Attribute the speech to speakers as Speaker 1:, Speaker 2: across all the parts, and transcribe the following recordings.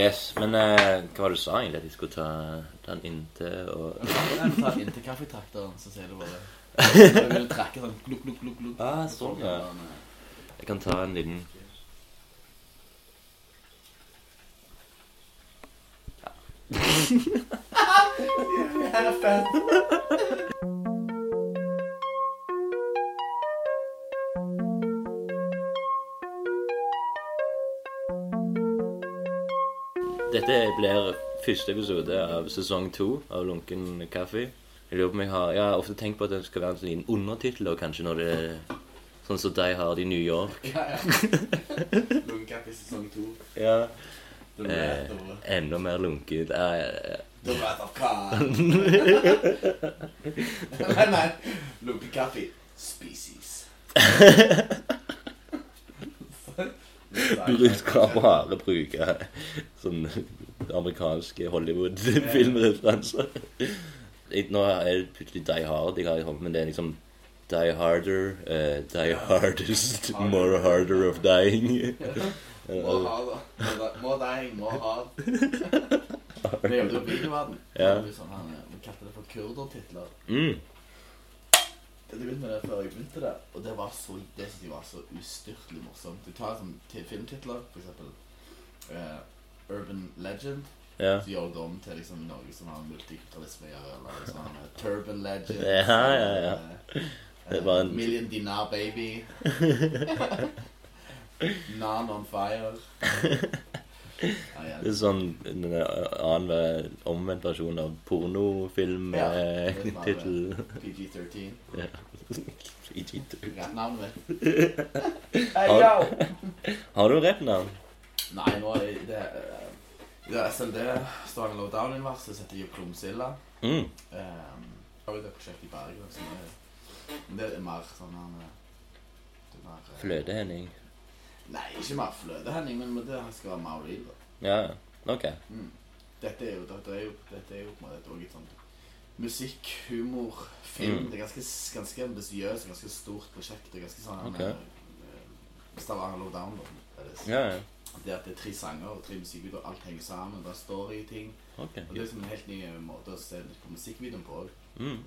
Speaker 1: Yes, men eh, hva var det du sa egentlig? At jeg skulle ta, ta den inntil og
Speaker 2: Jeg tar inntil kaffetrakteren, så sier du bare Jeg vil trekke sånn glukk, glukk, glukk, glukk.
Speaker 1: Ah, sånn, ja. Jeg kan ta en liten Dette blir første episode av sesong to av Lunken kaffe. Jeg lurer på om jeg har, jeg har ofte tenkt på at det skal være en sånn liten undertittel, og kanskje når det Sånn som de har det i New York.
Speaker 2: Ja, ja. Lunkapp i sesong to.
Speaker 1: Ja. Eh,
Speaker 2: The Red Door.
Speaker 1: enda mer lunket. Ja, ja, ja.
Speaker 2: The Red of Car. Nei, nei. Lunkekaffe. Species.
Speaker 1: Bruk skal bare bruke sånn amerikanske Hollywood-filmreferanser. Jeg- Nå er det plutselig Die Hard jeg har i hånden, men det er liksom Die Harder, eh, Die Hardest, More Harder of Dying.
Speaker 2: Må ha, da. Må da- Må deg, må ha. Det gjør du i videoverden.
Speaker 1: Ja.
Speaker 2: Det er jo Sånn, han, eh, vi kalte det for kurdertitler.
Speaker 1: Mm.
Speaker 2: Jeg begynte med det før jeg begynte det, og det var så, det synes jeg var så ustyrtelig morsomt. Du tar som til filmtitler, for eksempel eh, Urban Legend,
Speaker 1: Ja.
Speaker 2: så gjør du det om til liksom noe som har multikulturalisme å gjøre, eller liksom eh, Turban Legend.
Speaker 1: Ja, ja, ja.
Speaker 2: eh,
Speaker 1: Det
Speaker 2: eh,
Speaker 1: var en-
Speaker 2: Million Dinar Baby. Nan on Fire. Ja, ja.
Speaker 1: Det er sånn en annen ver- omvendt versjon av
Speaker 2: Ja.
Speaker 1: pornofilm-tittel.
Speaker 2: PG-13.
Speaker 1: Ja. PG-13.
Speaker 2: Ja, navnet mitt.
Speaker 1: Har-
Speaker 2: Hey, yo!
Speaker 1: Har du rappnavn?
Speaker 2: Nei, nå er det eh, Det er SLD, Stavanger Lowdown Universet, så heter jeg jo Krumsilla.
Speaker 1: Mm.
Speaker 2: Um, har jo det prosjektet i Bergen som er men Det er mer sånn han eh, det er mer, eh,
Speaker 1: Fløtehenning.
Speaker 2: Nei, ikke mer flødehending, men det skal være mer real. da.
Speaker 1: Ja, ok.
Speaker 2: Mm. Dette er jo dette er jo, dette er jo på en måte også et sånt musikk, humor, film.
Speaker 1: Mm.
Speaker 2: Det er ganske, ganske ambisiøst, ganske stort prosjekt. Det er ganske sånn
Speaker 1: Ok.
Speaker 2: eh, eh, Stavanger Lowdown. da. Det er-
Speaker 1: Ja, ja.
Speaker 2: Det at det er tre sanger og tre musikkvideoer, alt henger sammen. Det er storyting.
Speaker 1: Ok.
Speaker 2: Og det er liksom en helt ny måte å se på musikkvideoen på òg.
Speaker 1: Mm.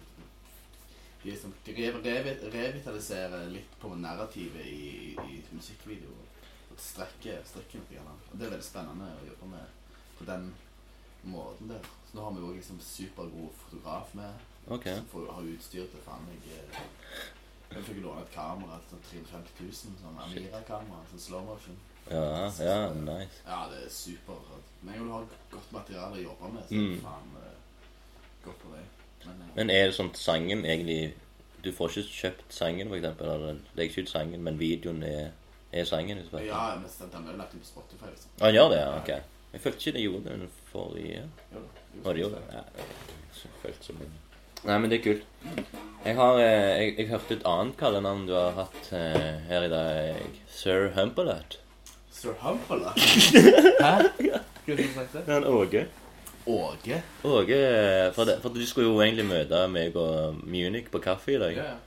Speaker 2: De liksom de rev- revi- revitaliserer litt på narrativet i, i musikkvideoen. Og strekker strekker litt. Grann. Og det er veldig spennende å jobbe med på den måten der. Så nå har vi jo også liksom supergod fotograf med.
Speaker 1: Ok.
Speaker 2: Som får, har utstyr til faen meg eh, Jeg fikk låne et kamera til sånn 350 000. Sånn
Speaker 1: Shit.
Speaker 2: Amira-kamera. Sånn slow motion.
Speaker 1: Ja, ja, nice.
Speaker 2: Ja, det er super. Men jeg vil ha godt materiale å jobbe med, så
Speaker 1: Mm.
Speaker 2: faen eh, godt på vei. Men, eh,
Speaker 1: Men er det sånn at sangen egentlig Du får ikke kjøpt sangen, for eksempel? Eller legger ikke ut sangen, men videoen er, er sangen? Hvis du vet.
Speaker 2: ja, men stemt, den ble jo lagt ut på Spotify. Liksom.
Speaker 1: Ah, han gjør det, ja? Ok. Jeg følte ikke det gjorde det under forrige
Speaker 2: Jo da, jo, sånn.
Speaker 1: Var det gjorde
Speaker 2: Spotify.
Speaker 1: det? Ja. Jeg følte som Nei, men det er kult. Jeg har eh, Jeg, jeg hørte et annet kallenavn du har hatt eh, her i dag. Sir Humperlat.
Speaker 2: Sir Humphalla? Hæ? Hva sa du?
Speaker 1: Han Åge.
Speaker 2: Åge?
Speaker 1: Åge for, det, for du skulle jo egentlig møte meg og Munich på kaffe i dag.
Speaker 2: Ja, ja.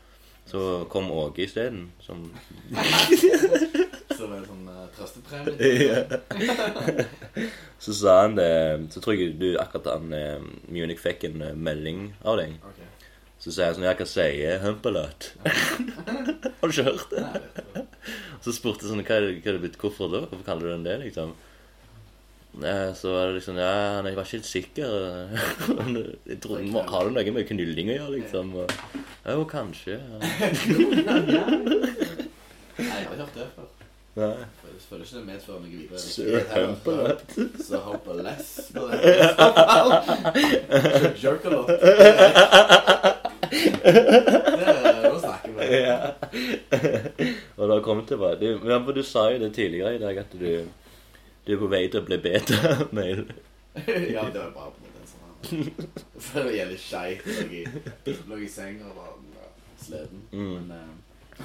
Speaker 1: Så kom Åge isteden, som
Speaker 2: Så det var en sånn uh, trøstepremie.
Speaker 1: Ja. Så sa han det Så tror jeg du akkurat han eh, Munich fikk en eh, melding av deg.
Speaker 2: Ok.
Speaker 1: Så sier han sånn Ja, hva sier Humperlot? Har du ikke hørt det?
Speaker 2: Nei, det tror jeg.
Speaker 1: Så spurte jeg sånn Hva er det, hva er det blitt? Hvorfor da? Hvorfor kaller du den det, liksom? Eh, Så var det liksom Ja, han jeg var ikke helt sikker. Jeg tror, må, har det noe med knulling å gjøre, liksom? Og, Ja, jo, kanskje. Ja.
Speaker 2: Nei, jeg har ikke hørt det før.
Speaker 1: Nei.
Speaker 2: Jeg føler ikke det medfører noe videre.
Speaker 1: Sir Humperlot.
Speaker 2: Så Humperless. Jerkalot. Det er Nå snakker vi.
Speaker 1: Ja. Og da kom det bare du, ja, for du sa jo det tidligere i dag at du Du er på vei til å bli bedre med
Speaker 2: ja, det var bare på en måte en sånn For det gjelder skeit. Lå i, lå i senga og var ja, sliten.
Speaker 1: Mm.
Speaker 2: Men eh,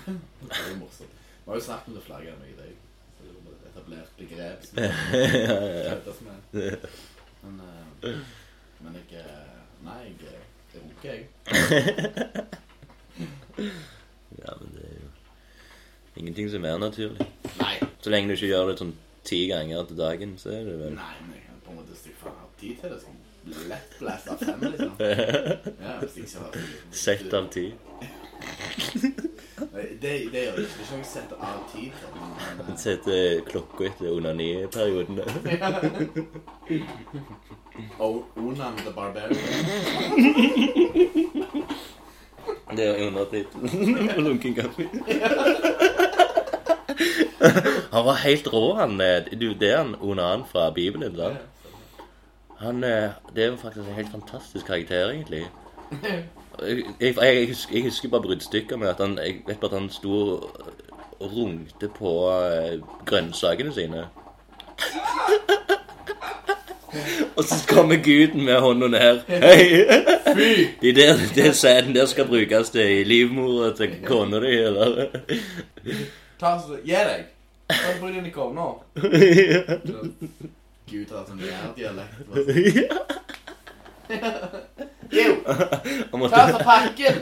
Speaker 2: det var jo morsomt. Vi har jo snakket om det flere ganger i dag. Så det var et etablert begrep som køddes med. Men, eh, men jeg eh, Nei, jeg eh, jeg runker, jeg.
Speaker 1: Ja, men det er jo ingenting som er naturlig.
Speaker 2: Nei.
Speaker 1: Så lenge du ikke gjør det sånn ti ganger til dagen, så er det vel
Speaker 2: Nei, men jeg kan på en måte hvis jeg faen har tid til det, sånn lett blast av fem, liksom. Ja, hvis jeg ikke har liksom.
Speaker 1: Sett av ti.
Speaker 2: Nei, Det, det gjør jeg ikke. Det er ikke noe jeg setter av tid til. men, eh,
Speaker 1: Sette klokka etter onaniperioden.
Speaker 2: O- Onan the Barbarian.
Speaker 1: Det er undertittelen på Lunken kaffe. Han var helt rå, han. eh, Du, det er han onan fra Bibelen. da. Han, eh, Det er jo faktisk en helt fantastisk karakter, egentlig. Jeg, jeg, jeg, husker, jeg husker bare bruddstykker med at han Jeg vet bare at han sto og og rungte på eh, grønnsakene sine. og så kommer guden med hånda ned. Hei!
Speaker 2: Fy!
Speaker 1: De der, det sæden der skal brukes til livmora til kona di, eller?
Speaker 2: Ta så, Gi deg! Ta Bruk deg i kovna. Gud har sånn jærdialekt. bare sånn, Jo!
Speaker 1: Han
Speaker 2: Ta
Speaker 1: måtte,
Speaker 2: så pakken!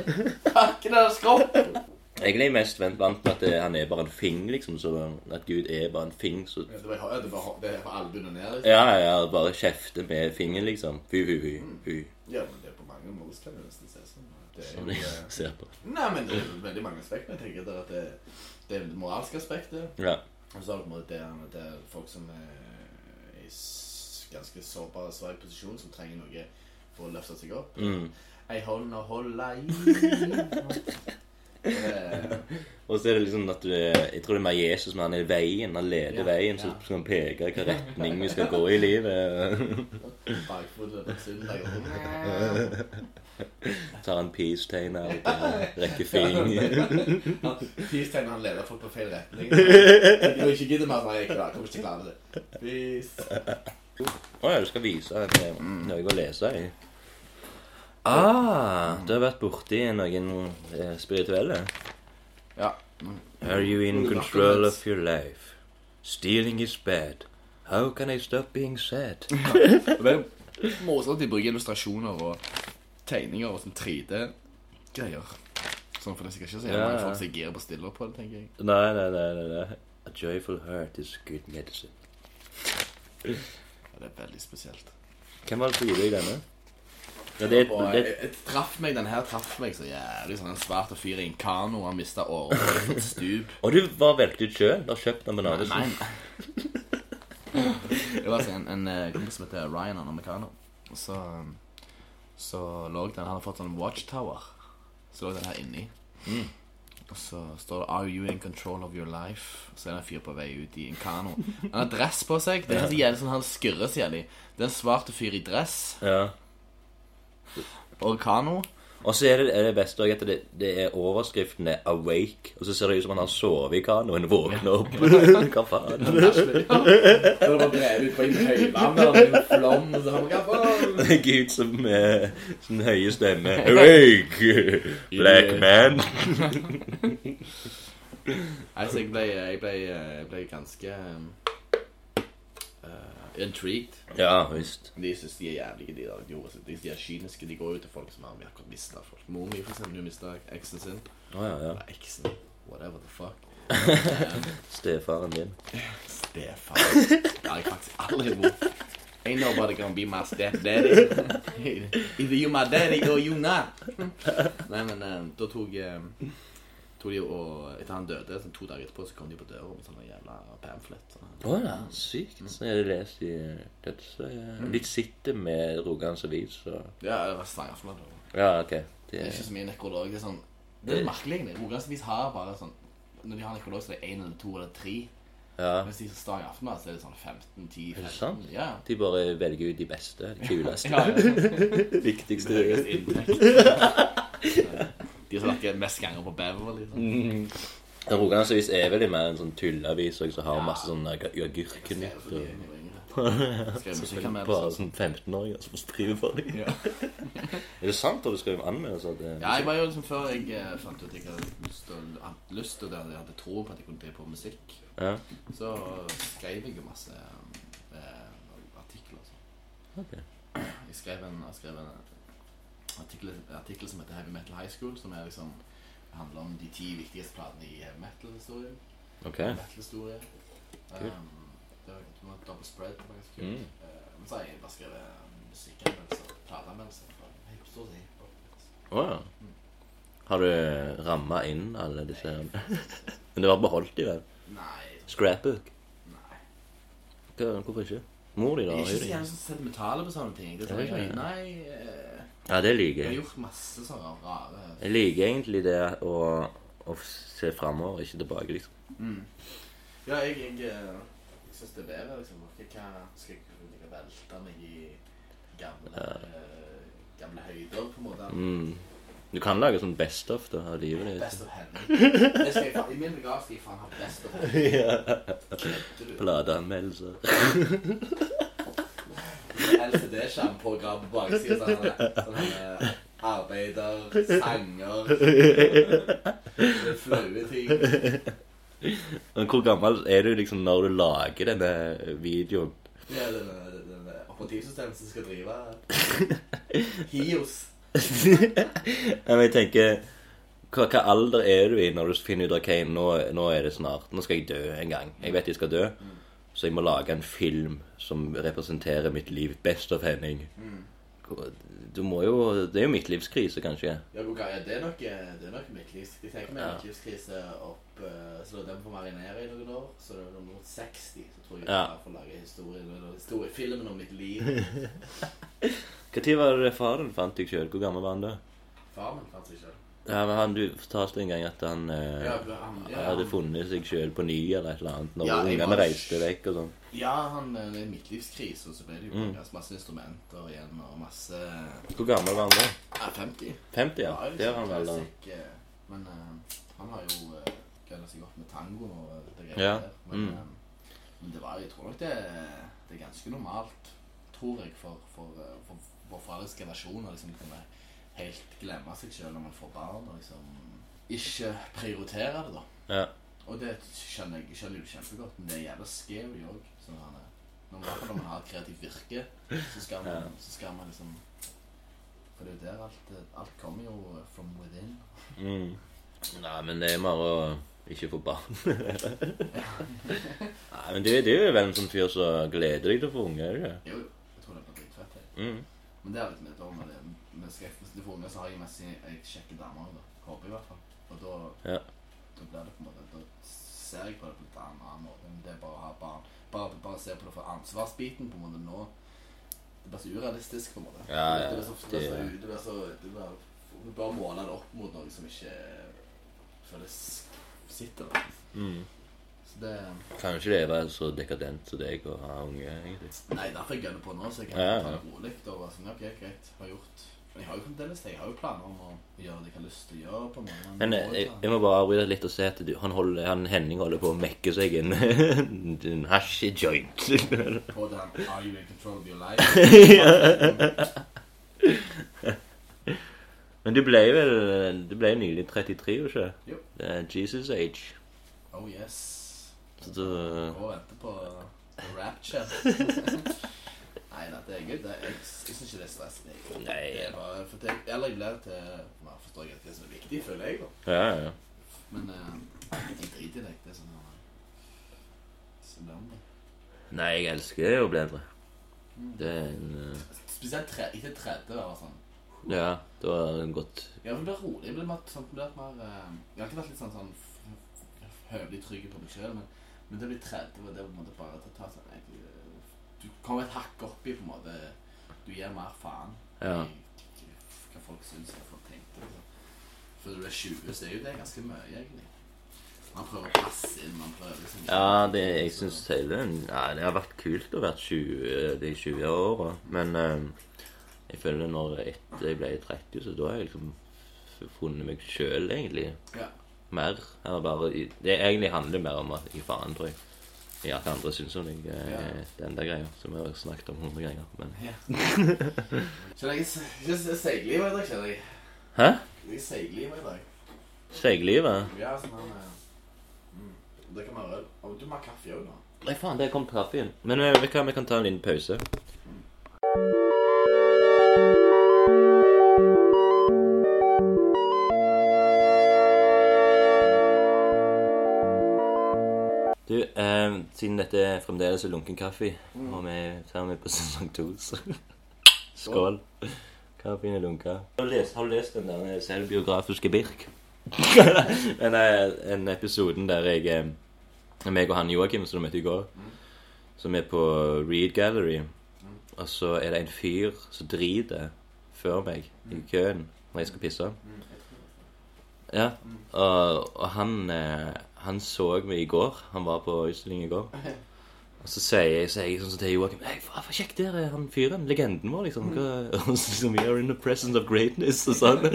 Speaker 2: Pakken er skroppen!
Speaker 1: egentlig mest vant vant med at det, han er bare en fing, liksom. Så at Gud er bare en fing. Så,
Speaker 2: Det var ja, det var- det var albuene ned. liksom.
Speaker 1: ja, ja, bare kjefte med fingeren, liksom. Fy, fy, fy. fy.
Speaker 2: Ja, men det er på mange måter kan det nesten se sånn. Det er
Speaker 1: Som
Speaker 2: jo,
Speaker 1: jeg
Speaker 2: eh,
Speaker 1: ser på.
Speaker 2: nei, men det er veldig mange aspekter. Jeg tenker der at det, det er det moralske aspektet.
Speaker 1: Ja.
Speaker 2: Og så har du på en måte det her med at det er folk som er i s- ganske sårbar og svak posisjon, som trenger noe for å løfte seg opp.
Speaker 1: Mm.
Speaker 2: Ei hånd å holde i Eh,
Speaker 1: Og så er det liksom at du, er- Jeg tror det er mer Jesus, men han er veien. Han leder
Speaker 2: Ja,
Speaker 1: veien, så
Speaker 2: ja.
Speaker 1: skal han peke hvilken retning vi skal gå i livet.
Speaker 2: Bakfotet på søndag. og-
Speaker 1: Tar han peace-tegn her og der. Rekker fingeren.
Speaker 2: Han- Peace-tegnet han leder folk på feil retning. Jeg ikke gidder mer, nei, jeg klarer- kommer ikke til å klare det. Peace.
Speaker 1: Å ja, du skal vise en, eh, noe å lese i. Ah, du har vært borti noen eh, spirituelle.
Speaker 2: Ja.
Speaker 1: Are you in control of your life? Stealing is bad. How can I stop being sad?
Speaker 2: Og Det er morsomt at de bruker illustrasjoner og tegninger og sånn 3D-greier. Sånn for det er sikkert ikke så jævlig
Speaker 1: Ja,
Speaker 2: mange
Speaker 1: ja.
Speaker 2: folk som girer på stiller på det, tenker jeg.
Speaker 1: Nei, nei, nei, nei, nei. A joyful heart is good medicine.
Speaker 2: Ja, det er veldig spesielt.
Speaker 1: Hvem var det som gjorde deg denne? Ja, det er
Speaker 2: Og
Speaker 1: et-
Speaker 2: jeg,
Speaker 1: det er et
Speaker 2: jeg traff meg, den her traff meg så jævlig sånn. En svart fyr i en kano, han mista året på et stup.
Speaker 1: Og du var valgt ut sjøl? Du har kjøpt den bananesen?
Speaker 2: Nei, nei. Det var altså en, en eh, kompis som heter Ryan, han er amerikaner. Og Så, um, så lå den Han har fått sånn watchtower. Så lå den her inni. Og så står det 'Are you in control of your life?' Og så er det en fyr på vei ut i en kano. Han har dress på seg. Det er så jævlig sånn han skurrer så jævlig. Det er en svart fyr i dress
Speaker 1: Ja.
Speaker 2: og kano.
Speaker 1: Og så er det, er det beste også at det, det er overskriften er 'Awake', og så ser det ut som han har sovet i kanoen, våkner opp Hva faen?
Speaker 2: Så var drevet ut på en høyvann og en flom, og så har man
Speaker 1: Gud som med sin høye stemme 'Awake, black man'.
Speaker 2: Altså, jeg ble, jeg ble, jeg ble ganske eh, intrigued.
Speaker 1: Ja visst.
Speaker 2: De synes de er jævlige, de der. De, de, de er kyniske. De går jo til folk som har akkurat mista folk. Mor mi, for eksempel, hun mista eksen sin.
Speaker 1: Å ja, ja.
Speaker 2: Eller eksen. Whatever the fuck.
Speaker 1: Stefaren din.
Speaker 2: Stefan. Det har jeg faktisk aldri bodd. Ain't nobody gonna be my stepdaddy. Either you my daddy or you not. Nei, men eh, da tok, eh, tok de og Etter han døde, sånn to dager etterpå, så kom de på døra med sånne jævla pamflett. Sånn.
Speaker 1: Å ja, sykt.
Speaker 2: Mm.
Speaker 1: Så er det lest i dødsøyet. Litt sitte med Rogalands Avis og
Speaker 2: Ja, det var slanger som hadde
Speaker 1: Ja, OK. Det
Speaker 2: Det er
Speaker 1: er
Speaker 2: ikke så mye nekrolog. Det er sånn Det er litt merkelig, egentlig. Rogalandsvis har bare sånn Når de har nekrolog, så er det én eller to eller tre.
Speaker 1: Ja.
Speaker 2: Hvis de er Stang Aftenblad, så er det sånn 15-10-15.
Speaker 1: Er det sant?
Speaker 2: Ja.
Speaker 1: De bare velger ut de beste, de kuleste,
Speaker 2: ja, ja.
Speaker 1: viktigste
Speaker 2: Høyest inntekt. De som lakker mest ganger på Beverly. Liksom.
Speaker 1: Rogalandsavis er vel mer en sånn tulleavis også, som har masse sånn agurkenytt og
Speaker 2: Skrev musikk med det.
Speaker 1: Bare sånn 15-åringer som skriver for dem.
Speaker 2: Ja.
Speaker 1: Er det sant at du skal anmelde seg til
Speaker 2: Ja, jeg var jo liksom Før jeg eh, fant ut at jeg hadde lyst til å- hadde lyst til det, at jeg hadde tro på at jeg kunne drive på med musikk,
Speaker 1: Ja.
Speaker 2: så skrev jeg jo masse eh, artikler. og sånn.
Speaker 1: Ok.
Speaker 2: Jeg skrev en, jeg skrev en artikkel, artikkel som heter Heavy Metal High School, som er liksom, handler om de ti viktigste platene i heavy metal-historien.
Speaker 1: Ok.
Speaker 2: Metal-historie.
Speaker 1: Kult.
Speaker 2: Um, det Det var det var double spread. Det var ganske kult.
Speaker 1: Mm.
Speaker 2: Eh, men så har jeg bare skrevet eh, musikkanmeldelser, plateanmeldelser. for Jeg er stort sett hiphop.
Speaker 1: Å ja. Har du ramma inn alle disse her? Men det var beholdt i vel?
Speaker 2: Nei, jeg tror-
Speaker 1: Scrapbook?
Speaker 2: nei.
Speaker 1: Hva, hvorfor ikke? Mor di, da?
Speaker 2: Jeg
Speaker 1: har
Speaker 2: er ikke
Speaker 1: jo
Speaker 2: så
Speaker 1: det.
Speaker 2: gjerne så sentimentale på sånne ting. Det er
Speaker 1: Ja,
Speaker 2: sånn,
Speaker 1: ja, ja.
Speaker 2: jeg, nei, eh,
Speaker 1: Ja, det
Speaker 2: jeg
Speaker 1: liker
Speaker 2: har
Speaker 1: jeg.
Speaker 2: gjort masse sånne rare
Speaker 1: Jeg liker egentlig det å, å se framover, ikke tilbake, liksom.
Speaker 2: Mm. Ja, jeg, jeg, eh, jeg syns det er bedre, liksom. Hva hva skal jeg kunne like, velte meg i gamle, eh, gamle høyder, på en måte?
Speaker 1: Mm. Du kan lage sånn best of da, av livet ditt.
Speaker 2: Best of heaven. Det skal jeg, fa- I min begrav skal jeg faen ha best of heaven. Kødder du?
Speaker 1: Plateanmeldelser.
Speaker 2: LCD-sjampo og grav på baksida. Sånn, eh, sånn eh, arbeider, sanger eh, Flaue ting.
Speaker 1: Men hvor gammel er du liksom når du lager denne videoen?
Speaker 2: Ja, den, den, den operativsystemet som skal drive Hios.
Speaker 1: Ja, Men jeg tenker hva, hva alder er du i når du finner ut ok, nå, nå er det snart, nå skal jeg dø en gang. Jeg vet jeg skal dø, så jeg må lage en film som representerer mitt liv. Best of Henning.
Speaker 2: Mm.
Speaker 1: Hvor- Du må jo, Det er jo midtlivskrise, kanskje.
Speaker 2: Ja, hvor ga- ja, det er nok, eh, det er nok midtlivs. Jeg tenker med
Speaker 1: Ja.
Speaker 2: midtlivskrise opp eh, Så den får marinere i noen år. Så det er noe mot 60, så tror jeg
Speaker 1: Ja.
Speaker 2: jeg får lage historien eller historie, filmen om mitt liv.
Speaker 1: Når var det faren fant deg sjøl? Hvor gammel var han da?
Speaker 2: Far min fant seg sjøl.
Speaker 1: Ja, men han, Du fortalte en gang at han eh,
Speaker 2: Ja, han- ja,
Speaker 1: hadde
Speaker 2: han-
Speaker 1: funnet seg sjøl på ny eller et eller annet når
Speaker 2: Ja, jeg
Speaker 1: ungene
Speaker 2: var-
Speaker 1: reiste vekk og sånn.
Speaker 2: Ja, han eh, det er midtlivskrise, og så ble det jo
Speaker 1: Mm.
Speaker 2: masse, masse instrumenter igjen, og masse eh, ja,
Speaker 1: Hvor gammel var han da?
Speaker 2: 50.
Speaker 1: 50, ja.
Speaker 2: jo
Speaker 1: Det var han
Speaker 2: sånn
Speaker 1: vel da.
Speaker 2: classic, eh, Men eh, han har jo uh, gønna seg opp med tango og det greiene
Speaker 1: Ja,
Speaker 2: der. Men,
Speaker 1: mm.
Speaker 2: eh, men det var, jeg tror nok det, det er ganske normalt, tror jeg, for, for, eh, for, for foreldres generasjon å liksom kunne helt glemme seg sjøl når man får barn, og liksom ikke prioritere det, da.
Speaker 1: Ja.
Speaker 2: Og det skjønner jeg skjønner jo kjempegodt, men det er jævla scary òg. Når, man- når man har kreativt virke, så skal man, så skal man liksom For det er jo der alt, alt kommer jo from within.
Speaker 1: Mm. Nei, men det er bare å ikke få barn. Nei, men du, du er jo vel en sånn fyr som gleder deg til å få unge, er du ikke?
Speaker 2: Jo, jeg tror det blir dritfett. jeg.
Speaker 1: Mm.
Speaker 2: Men det er litt mitt år med det. Med skrekkfest for unge så har jeg mest jeg kjekke damer òg, da. Håper jeg i hvert fall. Og da,
Speaker 1: Ja.
Speaker 2: da blir det på en måte Da ser jeg på det på litt annen, annen måte. Men det er bare å ha barn. Bare, bare se på det fra ansvarsbiten på en måte nå. Det blir så urealistisk, på en måte.
Speaker 1: Ja, ja,
Speaker 2: det blir så, det blir så,
Speaker 1: det-
Speaker 2: det blir så det blir, Vi bare måler det opp mot noe som ikke føles sitter. da.
Speaker 1: Mm.
Speaker 2: Så det
Speaker 1: Kanskje det var så dekadent som deg å ha unge, egentlig.
Speaker 2: Nei, derfor jeg gønner på nå, så jeg kan
Speaker 1: Ja, ja.
Speaker 2: ta det rolig. Da bare sånn, ok, greit, har gjort. Men jeg har jo fremdeles det. Jeg har jo planer om å gjøre det jeg har lyst til å gjøre. på en måte.
Speaker 1: Men eh, jeg, jeg må bare avbryte litt og se at du, han, holder, han Henning holder på å mekke seg en, en hashijoint.
Speaker 2: På den Are you in control of your life?
Speaker 1: Men du ble vel Du ble nylig 33, jo ikke?
Speaker 2: Jo.
Speaker 1: Det er Jesus age.
Speaker 2: oh yes.
Speaker 1: Så du
Speaker 2: Gå og vente på rapture. Nei da, det er gøy. Det er- Jeg, jeg syns ikke det er stress. Det er-
Speaker 1: Nei.
Speaker 2: Det er bare, for det, eller jeg blir til Man forstår ikke det som er viktig, føler jeg, da.
Speaker 1: Ja, ja.
Speaker 2: Men eh, jeg driter i det. Det er sånn eh, så blir det.
Speaker 1: Nei, jeg elsker jo å bli eldre.
Speaker 2: Mm.
Speaker 1: Det er en eh,
Speaker 2: Spesielt tre, etter 30 var det sånn.
Speaker 1: Ja, det var en godt
Speaker 2: Ja, men det blir rolig. Det blir mer, sånn, det blir mer eh, Jeg har alltid vært litt sånn, sånn f- f- høvelig trygg på meg sjøl, men, men det blir 30, og det er på en måte bare å ta sånn jeg, Du kommer et hakk opp i, på en måte. Du gir mer faen
Speaker 1: Ja.
Speaker 2: i hva folk syns, hva folk tenkte. Liksom. Før du er 20, så er jo det ganske mye, egentlig. Man prøver å passe inn, man prøver liksom
Speaker 1: Ja, det, jeg syns hele Nei, det har vært kult å være 20 de 20 åra, men eh, jeg føler når etter jeg ble 30, så da har jeg liksom funnet meg sjøl, egentlig.
Speaker 2: Ja.
Speaker 1: Mer. Jeg har bare Det egentlig handler mer om at jeg gir faen, tror jeg. I at andre syns om deg. eh, Den der greia som jeg har snakket om hundre ganger. Men
Speaker 2: Ja. Kjenner jeg jeg jeg seigliv i dag, kjenner jeg.
Speaker 1: Hæ?
Speaker 2: Jeg seigliv i dag.
Speaker 1: Seiglivet?
Speaker 2: Ja, sånn han eh, mm. Det kan være øl. Å, Du må ha kaffe òg, da.
Speaker 1: Nei, faen, der kom kaffen. Men eh, vet du hva, vi kan ta en liten pause. Du, eh, eh, siden dette er fremdeles er lunken kaffe, og vi ser vi på sesong to, så Skål. Kaffen er lunka. Har du lest, har du lest den der eh, selvbiografiske Birk? en, eh, en episoden der jeg eh, meg og han Joakim, som du møtte i går, som er på Reed Gallery, og så er det en fyr som driter før meg i køen når jeg skal pisse.
Speaker 2: Mm,
Speaker 1: Ja, og, og han, eh, han så meg i går. Han var på utstilling i går. Og så sier jeg, sier jeg sånn som til Joakim Hei, faen, for kjekk der er han fyren. Legenden vår, liksom. Hva, og så liksom We are in the presence of greatness, og sånn.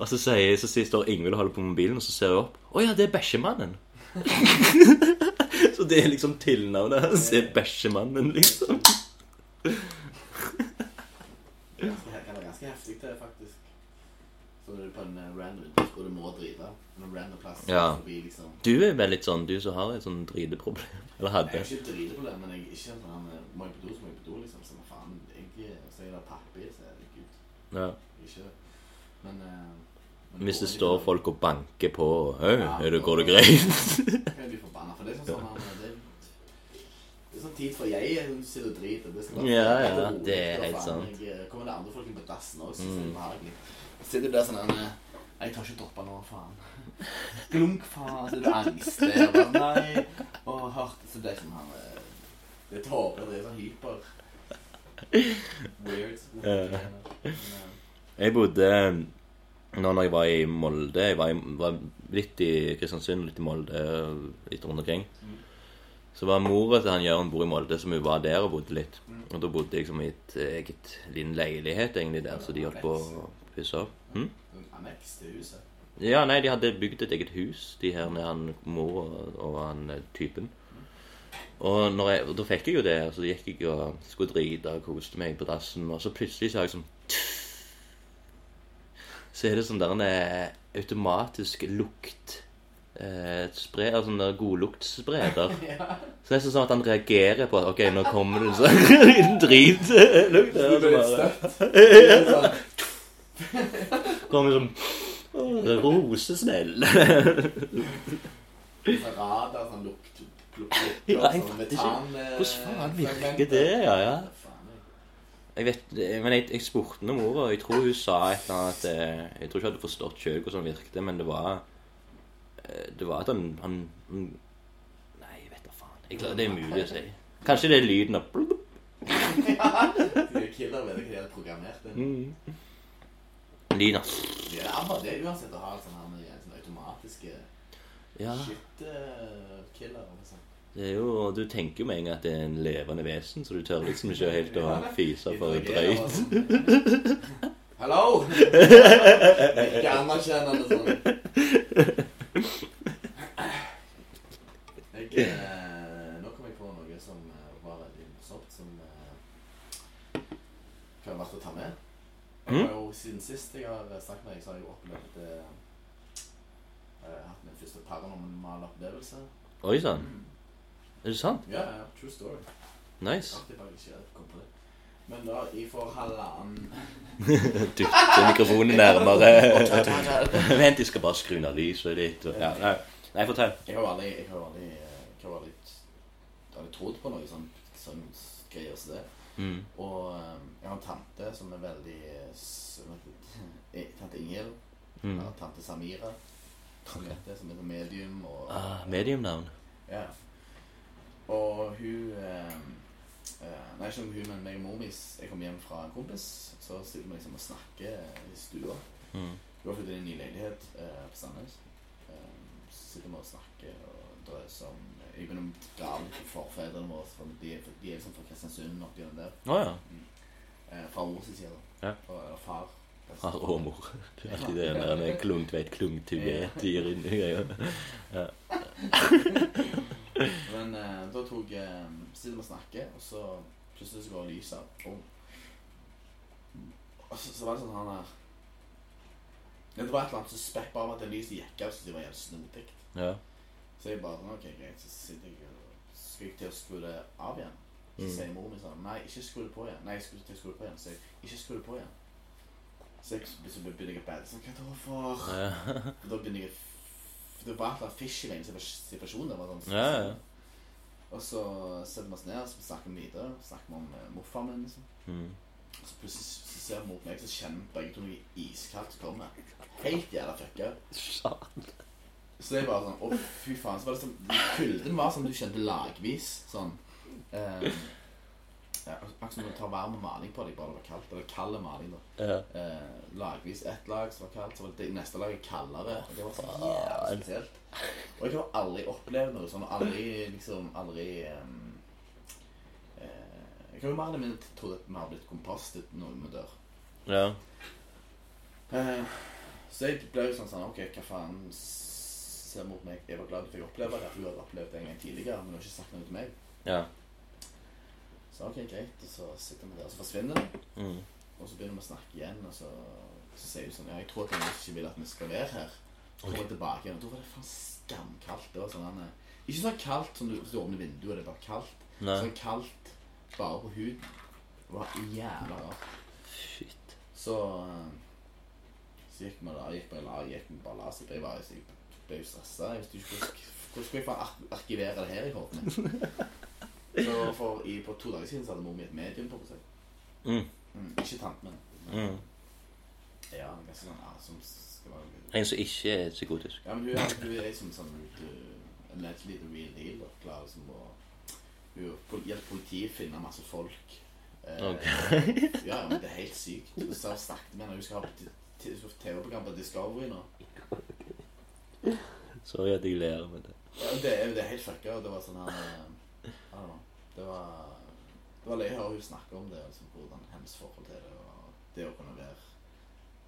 Speaker 1: Og så sier jeg, så sier- står Ingvild og holder på mobilen, og så ser jeg opp. Å ja, det er Bæsjemannen. så det er liksom tilnavnet hans. Det er Bæsjemannen, liksom.
Speaker 2: Ganske, det er ganske heftig det, faktisk. Så er det på en eh, random plass hvor du må drive. En random plass
Speaker 1: Ja.
Speaker 2: forbi, liksom.
Speaker 1: Du er vel litt sånn, du som har et sånn driteproblem. Eller
Speaker 2: Jeg
Speaker 1: hadde.
Speaker 2: er ikke drite på det, men jeg er ikke sånn eh, Må jeg på do, så må jeg på do, liksom. Så hva faen, jeg eh, så er det pappi, så er det gud.
Speaker 1: Ja.
Speaker 2: Ikke Men, eh, men
Speaker 1: Hvis det
Speaker 2: går
Speaker 1: står
Speaker 2: ikke.
Speaker 1: folk og banker på Hei,
Speaker 2: Ja.
Speaker 1: er det, går det greit?
Speaker 2: Jeg blir forbanna, for det er sånn sånn han det, det er sånn tid for jeg er hun sitter og driter. Det skal være
Speaker 1: Ja, ja,
Speaker 2: det er rolig,
Speaker 1: det er helt
Speaker 2: skal være
Speaker 1: Mm.
Speaker 2: faen, Jeg, eh, kommer det andre folk inn på dassen òg, så er det behagelig. Sitter du der sånn eh, Jeg tør ikke droppe nå, faen. Glunk, faen. Så er du angstlig. og bare, Nei. Og hardt. Så det er sånn han eh, Det er tårer. Det er sånn hyper. Weird.
Speaker 1: Ja.
Speaker 2: Men, eh,
Speaker 1: Jeg bodde eh, nå når jeg var i Molde Jeg var, i, var litt i Kristiansund, litt i Molde, eh, litt rundt omkring. Så var mora til han Jørn bor i Molde, som hun var der og bodde litt. Og da bodde jeg som i et eget liten leilighet egentlig der, så de holdt på å pusse opp. Hm?
Speaker 2: Anneks til huset.
Speaker 1: Ja, nei, de hadde bygd et eget hus, de her med han mor og, og han eh, typen. Og, når jeg, og da fikk jeg jo det, og så gikk jeg og skulle drite og koste meg på dassen, og så plutselig så er jeg sånn Så er det sånn der en eh, automatisk lukt eh, spre, altså Sånn der godluktspreder. Så det er sånn at han reagerer på at OK, nå kommer det sånn dritlukt. og
Speaker 2: Det
Speaker 1: så
Speaker 2: blir litt
Speaker 1: bare-
Speaker 2: støtt. Det er sånn,
Speaker 1: Kommer sånn «Åh, Rosesnell.
Speaker 2: Sånn radar, sånn lukt altså
Speaker 1: Ja, jeg fatter ikke.
Speaker 2: eh,
Speaker 1: Hvordan faen virker det? Ja, ja. Jeg vet, men jeg, jeg spurte noe mor, og jeg tror hun sa et eller annet at eh, Jeg tror ikke jeg hadde forstått selv hvordan det virkte, men det var eh, Det var at han, han han- Nei, jeg vet da faen. Jeg klarer, det er umulig å si. Kanskje det er lyden av blubb.
Speaker 2: De killer vet ikke hva de har programmert det.
Speaker 1: Mm. Lyden av
Speaker 2: Det er bare det uansett å ha en sånn her med en sånn automatiske
Speaker 1: Ja.
Speaker 2: shit-killer. Liksom.
Speaker 1: Det er jo, du tenker jo med en gang at det er en levende vesen, så du tør liksom ikke helt å fise for drøyt.
Speaker 2: Hallo! Ikke anerkjennende sånn. Jeg, eh, nå kom jeg på noe som eh, var veldig morsomt, som eh, kan være verdt å ta med. Jeg har jo, siden sist jeg har snakket med deg, så har jeg jo opplevd eh, eh, hatt min første paranormale opplevelse. Mm.
Speaker 1: Oi sann. Er det sant?
Speaker 2: Ja, ja, true story.
Speaker 1: Nice.
Speaker 2: Alltid bare ikke kom på det. Men da, i for halvannen
Speaker 1: Dytte mikrofonen nærmere. Vent, jeg skal bare skru ned lyset litt. Og, ja, nei. nei, fortell.
Speaker 2: Jeg har jo aldri, jeg har jo aldri, eh, jeg har jo aldri, jeg har aldri trodd på noe sånn, sånn greier som det.
Speaker 1: Mm.
Speaker 2: Og eh, jeg har en tante som er veldig eh, s- hva heter det? Eh, Tante Ingel,
Speaker 1: Mm.
Speaker 2: eller tante Samira, som heter, som heter medium. Og,
Speaker 1: Ah, mediumnavn.
Speaker 2: Ja. Og hun eh, eh, Nei, ikke om hun, men meg og mor mi Jeg kom hjem fra en kompis, så sitter vi liksom og snakker i stua.
Speaker 1: Mm.
Speaker 2: Hun har flyttet inn i en ny leilighet eh, på Sandnes. Eh, så sitter vi og snakker og drøser om eh, Jeg begynner å dra litt på forfedrene våre. For de, er- de er liksom fra Kristiansund oppi den der.
Speaker 1: Å ja.
Speaker 2: Eh, fra mors side, da.
Speaker 1: Ja.
Speaker 2: Og, eller far.
Speaker 1: Far og Ah, mor. Det er alltid det der med klung tveit, klung tubet gir inn i greia.
Speaker 2: Men eh, da tok eh, Sitter vi og snakker, og så plutselig så går lyset av. Og, og så, så var det sånn han her ja, Det var et eller annet suspekt bare om at det lyset gikk av, så det var helt snodig.
Speaker 1: Ja.
Speaker 2: Så jeg bare sånn, ok, greit, så sitter jeg og skal jeg til å skru det av igjen. Så
Speaker 1: Mm.
Speaker 2: sier mor min sånn, nei, ikke skru det på igjen. Nei, jeg skulle til å skru det på igjen. Så jeg, ikke skru det på igjen. Så jeg så begynner jeg å bære sånn, hva da for?
Speaker 1: Ja.
Speaker 2: Og da begynner jeg, å f- for det var et eller annet fish i veien, situasjonen der var sånn.
Speaker 1: Ja, ja.
Speaker 2: Og så setter vi oss ned og så snakker vi videre. Så snakker vi om eh, morfaren min. liksom.
Speaker 1: Mm.
Speaker 2: Så plutselig så ser vi mot meg, så kjenner begge to noe iskaldt komme. Helt jævla fucka. Så det er bare sånn Å, fy faen. Så var det sånn Kulden var sånn du kjente lagvis. Sånn. Eh, ja, akkurat som du tar varm maling på deg, bare det var kaldt. Eller kald maling, da.
Speaker 1: Ja.
Speaker 2: Eh, lagvis ett lag som var kaldt, så var det neste lag kaldere. Og det var så
Speaker 1: Faen.
Speaker 2: jævlig spesielt. Og jeg har aldri opplevd noe sånn. og Aldri liksom Aldri ehm, eh, Jeg kan jo mer eller mindre tro at vi har blitt kompostet når vi dør.
Speaker 1: ja.
Speaker 2: Eh, Så jeg ble jo sånn sånn Ok, hva faen ser mot meg? Jeg var glad du fikk oppleve det, for du hadde opplevd det en gang tidligere. Men du har ikke sagt noe til meg.
Speaker 1: Ja.
Speaker 2: Så ok, greit. Og så sitter vi der, og så forsvinner det.
Speaker 1: Mm.
Speaker 2: Og så begynner vi å snakke igjen, og så, så sier hun sånn Ja, jeg tror at han ikke vil at vi skal være her. Så kommer jeg tilbake igjen, og da var det faen skamkaldt. Det var sånn han, eh, Ikke sånn kaldt som du, hvis du åpner vinduet, det er bare kaldt.
Speaker 1: Nei.
Speaker 2: Sånn kaldt bare på huden. Det var jævla rart.
Speaker 1: Shit.
Speaker 2: Så eh, Så gikk vi da, gikk vi la, gikk vi bare la oss. Jeg var- jeg ble jo stressa. Jeg visste jo ikke hvordan hvordan skulle jeg faen ar- arkivere det her i hodet mitt. Så for i, på to dager siden så hadde mor mi et medium på seg.
Speaker 1: Mm.
Speaker 2: Mm, ikke tanten min. men-
Speaker 1: Mm.
Speaker 2: Ja, men ganske sånn ja, som skal være
Speaker 1: En som ikke er psykotisk.
Speaker 2: Ja, men hun er, hun er liksom sånn uh, allegedly the real deal. Og klarer liksom å Hun pol- hjelper politiet å finne masse folk. Eh,
Speaker 1: Ok.
Speaker 2: ja, men det er helt sykt. Og så har jeg snakket med henne. Hun skal ha t- t- hun skal ha TV-program på Discovery nå.
Speaker 1: Sorry at jeg ler med det.
Speaker 2: Ja, det, er, det er helt fucka. og Det var sånn her eh, I don't know. Det var Det var løye å høre hun snakke om det, liksom, hvordan hennes forhold til det og det å kunne være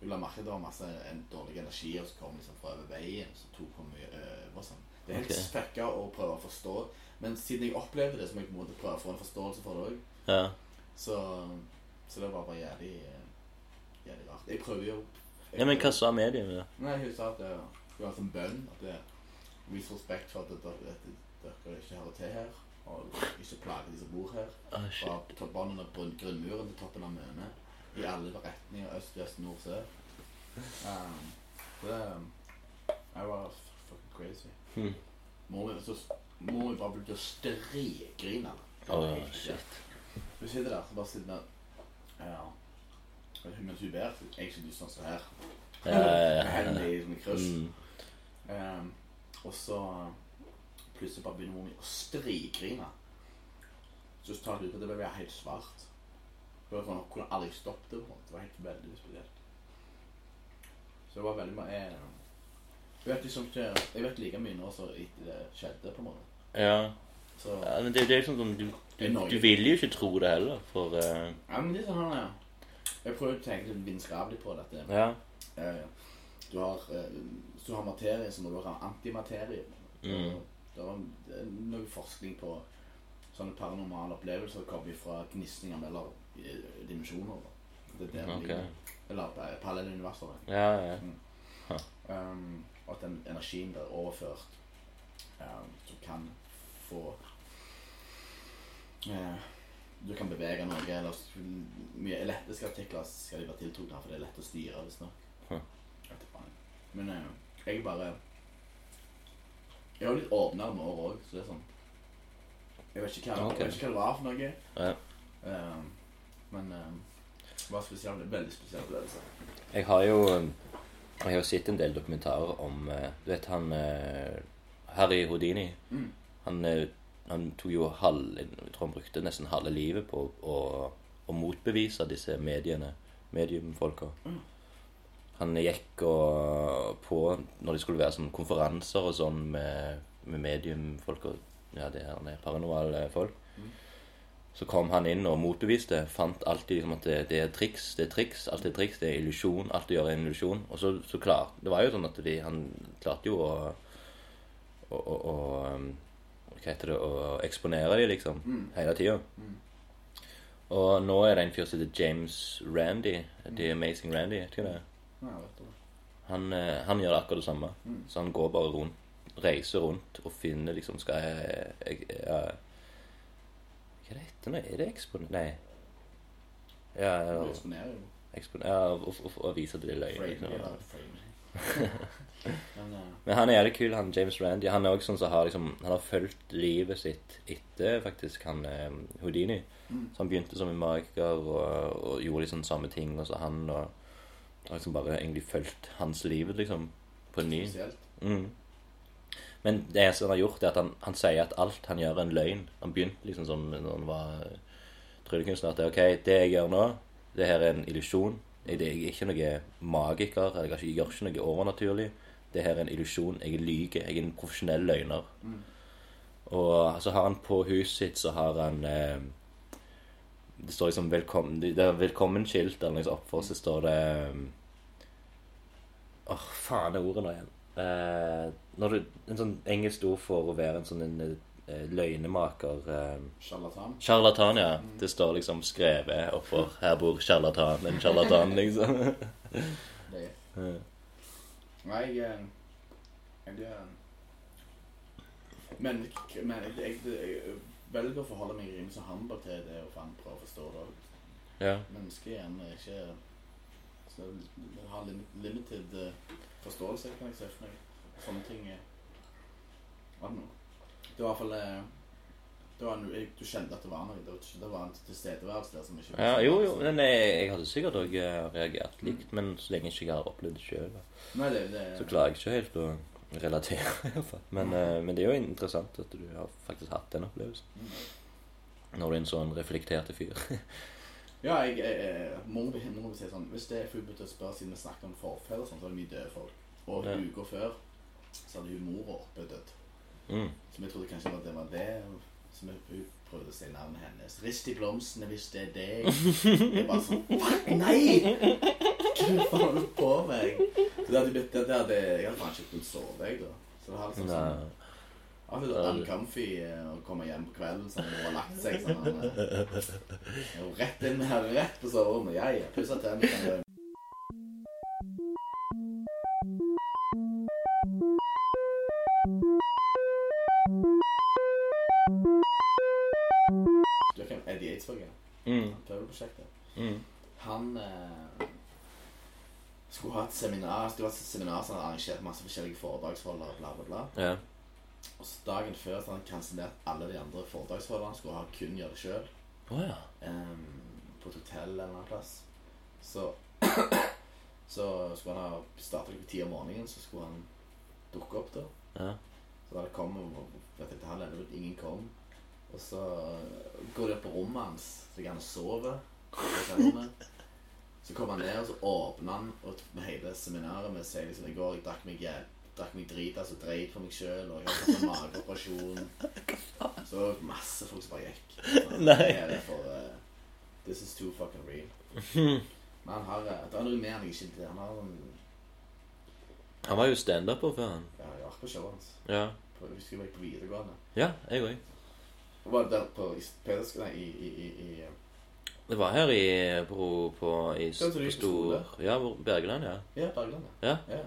Speaker 2: Hun la merke til at det var masse en dårlig energi, og så kom liksom fra over veien, så tok hun mye over sånn. Det er helt
Speaker 1: Ok.
Speaker 2: fucka å prøve å forstå, men siden jeg opplevde det, så må jeg på en måte prøve å få en forståelse for det òg.
Speaker 1: Ja.
Speaker 2: Så, så det var bare jævlig eh, Jævlig rart. Jeg prøver jo jeg
Speaker 1: ja, men
Speaker 2: prøver-
Speaker 1: hva sa mediene?
Speaker 2: Nei, hun sa at det det var en bønn. At det Vis respekt for at dere, at dere ikke hører til her. Og ikke plager de som bor her.
Speaker 1: Ah, shit.
Speaker 2: Fra toppen under brun- grunnmuren til toppen av Møne. I alle retninger. Øst, vest, nord, sør. Um, det Jeg var f- fucking crazy.
Speaker 1: Hmm.
Speaker 2: Mor mi så mor mi bare begynte å striggrine.
Speaker 1: Åh, shit.
Speaker 2: Hun sitter der så bare sitter der. Ja. Hun mens hun ber. Jeg synes sånn som her.
Speaker 1: Ja, ja, ja, ja.
Speaker 2: Hendene i sånn kryss.
Speaker 1: Eh, Mm.
Speaker 2: Ehm, og så eh, plutselig bare begynner mor mi å strigrine. Så tar jeg ut at det ble helt svart. Det var sånn, Hun kunne aldri stoppet det. på en måte. Det var helt veldig spesielt. Så det var veldig mye eh, Jeg vet liksom ikke Jeg vet like mye nå som etter det skjedde, på en måte.
Speaker 1: Ja.
Speaker 2: Så
Speaker 1: ja, men det, det er liksom sånn du, du, du vil jo ikke tro det heller, for eh,
Speaker 2: Ja, men litt sånn, ja. Jeg prøver å tenke litt vitenskapelig på dette.
Speaker 1: Ja.
Speaker 2: Eh, Du har, eh, hvis du har materie, så må du ha antimaterie.
Speaker 1: Mm.
Speaker 2: Det er det er noe forskning på sånne paranormale opplevelser kommer fra gnisninger mellom eh, dimensjoner. da. Det er der det
Speaker 1: Ok.
Speaker 2: ligger. Eller eh, parallelle universer. da.
Speaker 1: Ja, ja.
Speaker 2: Um, og Ehm, at den energien blir overført, um, som kan få eh, Du kan bevege noe, eller s- mye elektriske artikler skal de være tiltrukket av, for det er lett å styre, visstnok.
Speaker 1: Hm.
Speaker 2: Jeg vet ikke. Men eh, jeg er bare Jeg er jo litt åpnere med året òg, så det er sånn Jeg vet ikke hva,
Speaker 1: Ok.
Speaker 2: jeg vet ikke hva det var for noe.
Speaker 1: Ja.
Speaker 2: Um, men um, det var spesielt, veldig spesiell opplevelse.
Speaker 1: Jeg har jo um, Jeg har jo sett en del dokumentarer om eh, Du vet han eh, Harry Houdini?
Speaker 2: Mm.
Speaker 1: Han, eh, han tok jo halv Jeg tror han brukte nesten halve livet på å, å motbevise disse mediene, mediumfolka.
Speaker 2: Mm.
Speaker 1: Han gikk og, på når det skulle være sånn konferanser og sånn med, med mediumfolk og ja, det her det er paranormale folk.
Speaker 2: Mm.
Speaker 1: Så kom han inn og motbeviste. Fant alltid liksom at det, det er triks, det er triks, alt er triks, det er illusjon. Alt det gjør er en illusjon. Og så, så klart, Det var jo sånn at de, han klarte jo å å, å, å um, Hva heter det Å eksponere de, liksom.
Speaker 2: Mm.
Speaker 1: Hele tida.
Speaker 2: Mm.
Speaker 1: Og nå er det en fyr som heter James Randy. The Amazing Randy. Vet du hva det er?
Speaker 2: Ja, jeg vet det.
Speaker 1: Han, eh, han gjør akkurat det samme.
Speaker 2: Mm.
Speaker 1: Så han går bare rundt, reiser rundt og finner liksom Skal jeg, jeg, jeg Hva er det heter nå? Er det ekspon... Nei. Ja,
Speaker 2: Du
Speaker 1: eller
Speaker 2: eksponerer jo.
Speaker 1: ekspon... Ja, og, og, og viser at det er løgn.
Speaker 2: Frame,
Speaker 1: Liksom.
Speaker 2: ja, frame. Men eh,
Speaker 1: Men han er jævlig kul, han James Randy. Han er også sånn som har liksom Han har fulgt livet sitt etter faktisk han eh, Houdini. Så han begynte som en magiker og, og gjorde liksom samme ting og så han og har liksom bare egentlig fulgt hans liv liksom på ny.
Speaker 2: eh, spesielt.
Speaker 1: Mm. Men det eneste han har gjort, er at han, han sier at alt han gjør, er en løgn. Han begynte liksom som når han var eh, tryllekunstner. At det, er, ok, det jeg gjør nå, det her er en illusjon. Jeg, det- jeg er ikke noen magiker. Eller jeg, er ikke, jeg gjør ikke noe overnaturlig. Det her er en illusjon. Jeg lyver. Jeg er en profesjonell løgner. Og så har han på huset sitt, så har han eh, Det står liksom velkommen, det er velkommen-skilt eller noe sånt oppfor, så står det eh, Åh, faen er ordet nå igjen. Eh, når du, en sånn engelsk ord for å være en sånn en, eh, løgnemaker eh,
Speaker 2: Sjarlatan.
Speaker 1: Sjarlatan, ja. Det står liksom skrevet oppfor 'Her bor sjarlatan'. En sjarlatan, liksom.
Speaker 2: Det er
Speaker 1: Ja.
Speaker 2: Nei, jeg eh, Jeg eh, Men, k- men jeg, jeg, jeg velger å forholde meg rimelig som hamper til det å faen prøve å forstå det.
Speaker 1: ja.
Speaker 2: Menneskehjernen er ikke så l- har lim, limited eh, forståelse, kan jeg se for meg. Sånne ting er I don't know. Det var i hvert fall eh, det var en, jeg, Du kjente at det var noe. Det var, det var en tilstedeværelse der som ikke
Speaker 1: ja jo, jo. Men jeg, jeg hadde sikkert òg reagert likt, men så lenge jeg ikke har opplevd det sjøl.
Speaker 2: Nei, det, det,
Speaker 1: Så klarer jeg ikke helt å relatere, i hvert fall. Men, eh, men det er jo interessant at du har faktisk hatt den opplevelsen.
Speaker 2: Mm.
Speaker 1: Når du er en sånn reflekterte fyr.
Speaker 2: Ja, jeg, jeg, jeg må vi må vi si sånn Hvis det er fullt mulig å spørre siden vi snakker om forfedre, og sånn, så er det mye døde folk. Og
Speaker 1: Ja.
Speaker 2: uker før så hadde hun mora oppe dødd.
Speaker 1: Mm.
Speaker 2: Så vi trodde kanskje at det var det. Så vi hun prøvde å si navnet hennes. Rist i blomstene hvis det er deg. Jeg bare sånn «What? Nei! Hva faen holder du på med? Så det hadde blitt, det, det hadde, jeg hadde faen ikke kunnet sove, jeg, da. Så det hadde liksom sånn
Speaker 1: Nei.
Speaker 2: ja, hun er uncomfy eh, å komme hjem på kvelden sånn hun har lagt seg. sånn han, eh, er jo Rett inn her, rett på soverommet. Ja, ja. Pussa tennene. kan du- Du vet hvem Eddie Eidsvåg er?
Speaker 1: Mm.
Speaker 2: Pøbelprosjektet.
Speaker 1: Mm.
Speaker 2: Han eh, skulle ha et seminar, skulle ha et seminar som han arrangerte masse forskjellige foredragsholdere, bla, bla, bla.
Speaker 1: Ja.
Speaker 2: Og så dagen før så hadde han kansellert alle de andre foredragsholderne. Han skulle ha kun gjøre det sjøl.
Speaker 1: Å ja.
Speaker 2: på et hotell eller en annen plass. Så, så skulle han ha starta klokka ti om morgenen, så skulle han dukke opp der.
Speaker 1: Ja.
Speaker 2: Så da det kom og vet jeg, til halv elleve, ingen kom. Og så eh, går de opp på rommet hans, så ligger han og sover. på hotellrommet. Så kommer han ned, og så åpner han og t- med hele seminaret med seg liksom, i går jeg drakk meg jæv- drakk meg drit, altså dreit på meg sjøl, og jeg hadde fått en mageoperasjon. Så det var masse folk som bare gikk. Så,
Speaker 1: Nei.
Speaker 2: det er det for, eh, this is too fucking real. Men han har eh, Det er noe mer enn jeg ikke Han har en
Speaker 1: Han var jo standuper før, han.
Speaker 2: Ja, jeg har vært på showet hans.
Speaker 1: Ja.
Speaker 2: På, jeg husker jeg var på videregående.
Speaker 1: Ja, jeg òg.
Speaker 2: Og Var det der på i Pedersk... Nei, i, i, i, i eh,
Speaker 1: Det var her i på, på, i,
Speaker 2: Ja, så du
Speaker 1: på
Speaker 2: gikk på skole?
Speaker 1: Stor... Ja, hvor- Bergeland, ja.
Speaker 2: Ja, Bergland.
Speaker 1: Ja.
Speaker 2: ja.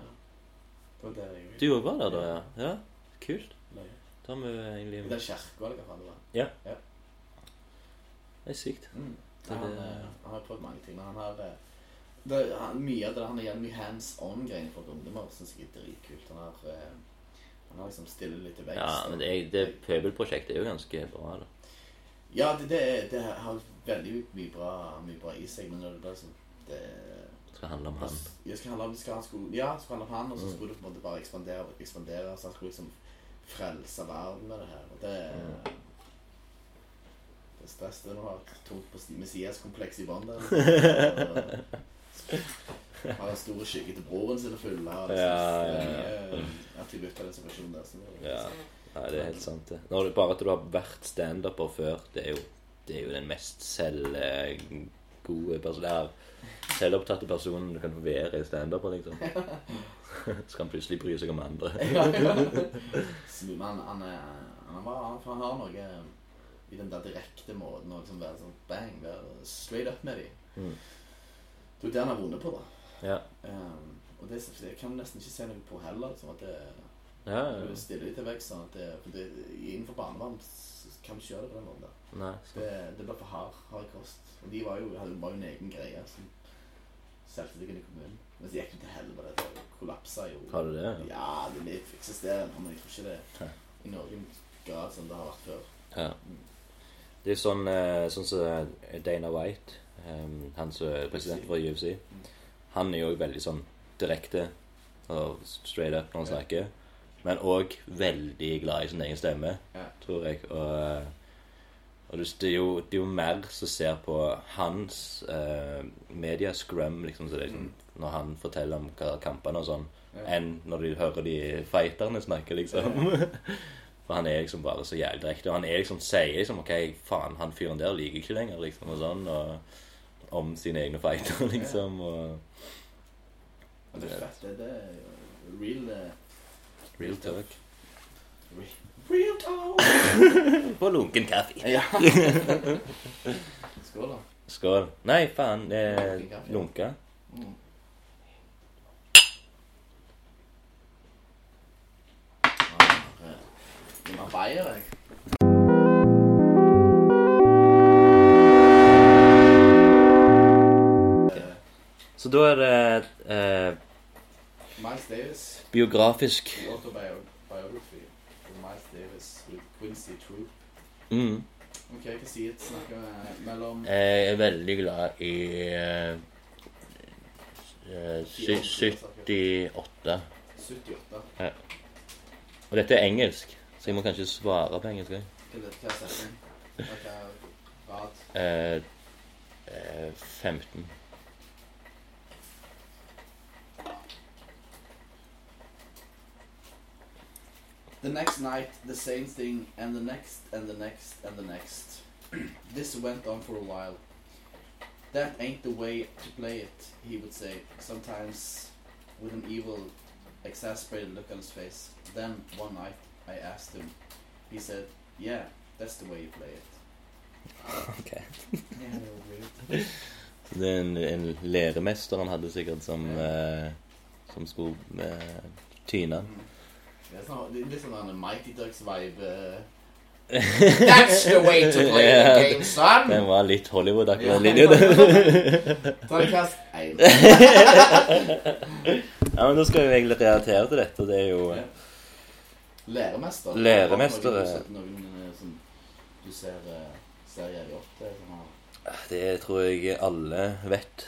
Speaker 2: Det var der jeg
Speaker 1: Du òg var der da, ja? ja. Kult.
Speaker 2: Nei.
Speaker 1: Da har vi
Speaker 2: I
Speaker 1: egentlig
Speaker 2: den kirka eller hva faen det var.
Speaker 1: Det er sykt.
Speaker 2: Mm.
Speaker 1: Det-
Speaker 2: Han, eh, han har prøvd mange ting, men han har eh, det, han, Mye av det han har gjort, mye hands on-greier for ungdommer, syns jeg er dritkult. Han har, eh, han har liksom stille litt til vekst.
Speaker 1: Ja, men det, er- det pøbelprosjektet er jo ganske bra, da.
Speaker 2: Ja, det, det, er- det har veldig mye bra, mye bra i seg, men når det blir sånn det,
Speaker 1: Det skal handle om han.
Speaker 2: Jeg skal handle om, skal, han skulle, ja, det skulle handle om han, og så
Speaker 1: Mm.
Speaker 2: skulle det på en måte bare ekspandere, ekspandere så han skulle liksom frelse verden med det her. Og det,
Speaker 1: Mm.
Speaker 2: det er stress. Det er noe tungt på Messias-kompleks i bånn der. liksom. Og Har den store skyggen til broren sin å fylle. og liksom,
Speaker 1: Ja, ja, ja.
Speaker 2: det er mye eh, Attributt av den situasjonen der. Så det er-
Speaker 1: Ja. Nei, det er helt sant, det. Når det bare at du har vært standuper før, det er jo, det er jo den mest eh, selvgode personen der. Selvopptatte personen du kan være i standuper, liksom. Så kan han plutselig bry seg om andre.
Speaker 2: Snu- Men han, er, han, var, han, han har noe eh, i den der direkte måten å liksom være sånn bang, være straight up med dem.
Speaker 1: Mm.
Speaker 2: Det er jo det han har vunnet på, da.
Speaker 1: Ja.
Speaker 2: Ehm, og det, det kan du nesten ikke si noe på heller. Liksom, at det,
Speaker 1: Ja, Ah, ja.
Speaker 2: du stiller deg til vekk sånn at det, for det, Innenfor barnevern s- kan du ikke gjøre det på den måten. der.
Speaker 1: Nei, så.
Speaker 2: Det, det ble for hard, hard kost. Og de var jo, hadde jo bare en egen greie. Så selvtillit i kommunen. Men så gikk det til helvete. Det kollapsa jo.
Speaker 1: Har du det?
Speaker 2: Ja, det eksisterer ennå, men jeg tror ikke
Speaker 1: Ja.
Speaker 2: det i noen grad som det har vært før.
Speaker 1: Ja. Det er sånn eh, sånn som Dana White, eh, han som er president for UFC, han er jo veldig sånn direkte og straight up når han
Speaker 2: Ja.
Speaker 1: snakker. Men òg veldig glad i sin egen stemme,
Speaker 2: Ja.
Speaker 1: tror jeg. Og, eh, og det, det, er jo, det er jo mer som ser på hans eh, media scrum, liksom, så det er
Speaker 2: Mm.
Speaker 1: sånn, når han forteller om hva kampene og sånn,
Speaker 2: Ja.
Speaker 1: enn når du hører de fighterne snakke, liksom. For han er liksom bare så jævlig direkte. Og han er liksom, sier liksom OK, faen, han fyren der liker jeg ikke lenger, liksom, og sånn. Og om sine egne fighter, liksom. Og
Speaker 2: Men det er fett. Det, det er jo real eh,
Speaker 1: real talk.
Speaker 2: re- Real talk!
Speaker 1: På lunken kaffe.
Speaker 2: Ja. Skål, da.
Speaker 1: Skål. Nei, faen. Eh,
Speaker 2: Lunken kaffe.
Speaker 1: lunka.
Speaker 2: Mm. Ah, Min arbeider, jeg. Eh,
Speaker 1: Så da er det eh,
Speaker 2: Miles Davis,
Speaker 1: biografisk.
Speaker 2: the autobiography of Miles Davis with Quincy Troop.
Speaker 1: Mm.
Speaker 2: Ok, hva sier det? Snakker med, eh, mellom
Speaker 1: Jeg er veldig glad i eh, eh, sy- 78.
Speaker 2: 78.
Speaker 1: Og dette er engelsk, så jeg må kanskje svare på engelsk. jeg.
Speaker 2: Hva er det- hva er setning? Hva er rad?
Speaker 1: Eh, eh, 15.
Speaker 2: The next night, the same thing, and the next, and the next, and the next. this went on for a while. That ain't the way to play it, he would say, sometimes with an evil, exasperated look on his face. Then, one night, I asked him. He said, Yeah, that's the way you play it.
Speaker 1: Ok.
Speaker 2: Yeah,
Speaker 1: Det er en, en læremester han hadde sikkert som, eh, som skulle eh, tyne.
Speaker 2: Mm.
Speaker 1: han.
Speaker 2: That's not, this is not a Mighty Ducks vibe. Uh...
Speaker 1: Ja,
Speaker 2: son!
Speaker 1: Den var litt Hollywood,
Speaker 2: Ja.
Speaker 1: akkurat den linja der.
Speaker 2: Terningkast én.
Speaker 1: ja, men da skal vi egentlig relatere til dette. Det er jo
Speaker 2: Ja. Læremester.
Speaker 1: Læremester,
Speaker 2: Har du
Speaker 1: ja.
Speaker 2: sett Noen eh, som du ser, eh, ser jævlig opp til. Som har,
Speaker 1: Det tror jeg alle vet.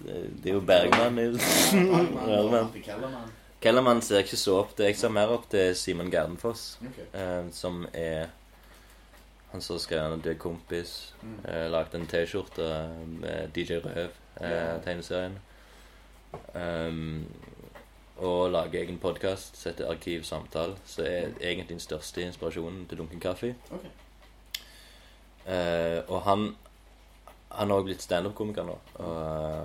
Speaker 1: Det, det er jo Bergman. Mm.
Speaker 2: Bergman.
Speaker 1: Bergman.
Speaker 2: Happy Kellerman.
Speaker 1: Kellerman ser jeg ikke så opp til. Jeg ser mer opp til Simon Gardenfoss.
Speaker 2: Ok.
Speaker 1: eh, som er Han som skrev en død kompis.
Speaker 2: Mm.
Speaker 1: Eh, lagde en T-skjorte med DJ Røv, eh,
Speaker 2: Ja.
Speaker 1: tegneserien. Um, og lager egen podkast som heter Arkiv Samtale, som er
Speaker 2: Mm.
Speaker 1: egentlig den største inspirasjonen til Dunken Kaffe.
Speaker 2: Ok.
Speaker 1: Eh, og han Han har også blitt standup-komiker nå. Og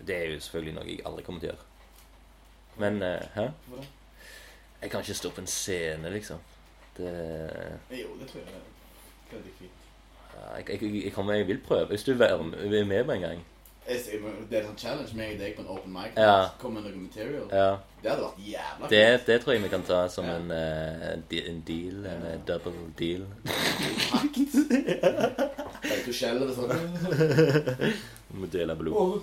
Speaker 1: eh, det er jo selvfølgelig noe jeg aldri kommer til å gjøre. Men eh, hæ?
Speaker 2: Hvorfor det?
Speaker 1: Jeg kan ikke stå på en scene, liksom. Det
Speaker 2: Eh, Jo, det tror jeg. Det er litt fint.
Speaker 1: Ja, Jeg, jeg, jeg, kommer, jeg vil prøve, hvis du vil være med, vil med på en gang.
Speaker 2: Jeg ser- men Det er en sånn challenge med deg på en open mic.
Speaker 1: Ja.
Speaker 2: Kom med noe material.
Speaker 1: Ja,
Speaker 2: Det hadde vært jævla
Speaker 1: det, det tror jeg vi kan ta som
Speaker 2: Ja.
Speaker 1: en, eh, de- en deal, en eh, double deal.
Speaker 2: Kompakt. Vet Du skjelver sånn.
Speaker 1: Vi må dele blod.
Speaker 2: Og,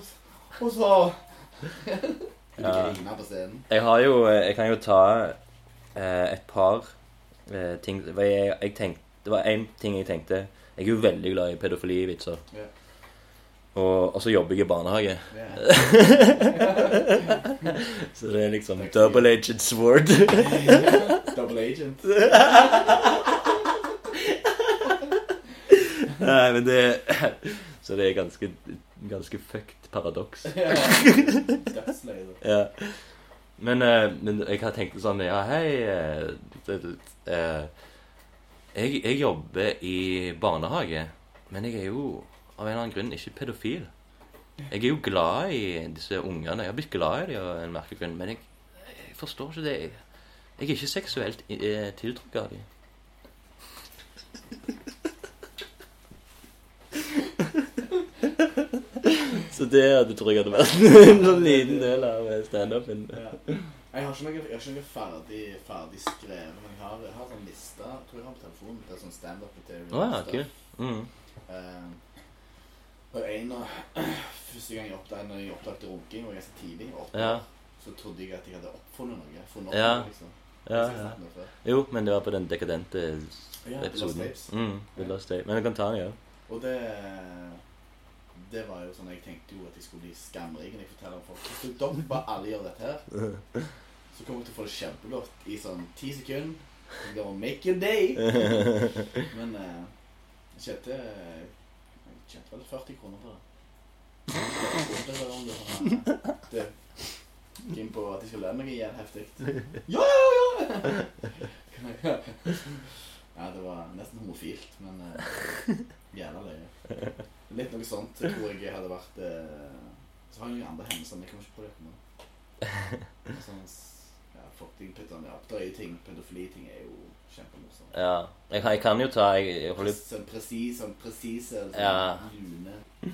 Speaker 2: og så Du
Speaker 1: Ja.
Speaker 2: griner på scenen.
Speaker 1: Jeg har jo, eh, jeg kan jo ta eh, et par eh, ting, hva jeg, jeg tenkte, det var en ting jeg tenkte, jeg er jo veldig glad i pedofilivitser.
Speaker 2: Ja.
Speaker 1: Og, og så jobber jeg i barnehage.
Speaker 2: Ja.
Speaker 1: Så det er liksom
Speaker 2: Takk.
Speaker 1: double-aged sword.
Speaker 2: Double agent.
Speaker 1: Nei, men det, så det er ganske, ganske fucked paradoks.
Speaker 2: Dødsløyde.
Speaker 1: Ja. Men, eh, men jeg har tenkt sånn Ja, hei eh, det, det, eh, jeg, jeg jobber i barnehage, men jeg er jo av en eller annen grunn ikke pedofil. Jeg er jo glad i disse ungene. Jeg har blitt glad i dem av en merkelig grunn, men jeg, jeg forstår ikke det. Jeg, jeg er ikke seksuelt eh, tiltrukket av dem. Så det hadde tror jeg hadde vært en sånn liten del av standupen.
Speaker 2: Ja. Jeg har ikke noe, jeg har ikke noe ferdig, ferdig skrevet, men jeg har, jeg har sånn liste tror jeg har på telefonen. Det er sånn standup material.
Speaker 1: Å ja, kult. Mm.
Speaker 2: Eh, og en Ehm, av Første gang jeg oppdaget, når jeg oppdaget runking, var ganske tidlig. jeg var åtte
Speaker 1: Ja,
Speaker 2: år, Så trodde jeg at jeg hadde oppfunnet noe. Funnet opp
Speaker 1: Ja.
Speaker 2: noe, liksom.
Speaker 1: ja,
Speaker 2: Jeg
Speaker 1: ja.
Speaker 2: snakket om det før.
Speaker 1: Jo, men det var på den dekadente
Speaker 2: Ja, det var
Speaker 1: episoden.
Speaker 2: Stapes.
Speaker 1: Mm, The Lost Tape. Men jeg kan ta den, ja.
Speaker 2: Og det Det var jo sånn Jeg tenkte jo at jeg skulle bli skamrik når jeg forteller om folk. Hvis dere bare alle gjør dette her, så kommer dere til å få det kjempegodt i sånn ti sekunder. Det var make your day. Men eh, jeg tjente Jeg tjente vel 40 kroner på det. Jeg trodde det var om det var, eh, det. Kim på at jeg skal lønne meg igjen heftig. Ja, ja, ja! Ja, det var nesten homofilt, men eh, jævla løye. Litt noe sånt jeg tror jeg hadde vært eh, Så har jeg noen andre hendelser, men jeg kommer ikke på det nå. Sånn, s- ja, fuck de pyttene jeg oppdøyer ting. Pedofiliting er jo kjempemorsomt.
Speaker 1: ja. Jeg, kan- jeg kan jo ta jeg, jeg holder...
Speaker 2: Sånn presis, sånn presise, sånn
Speaker 1: Ja.
Speaker 2: lune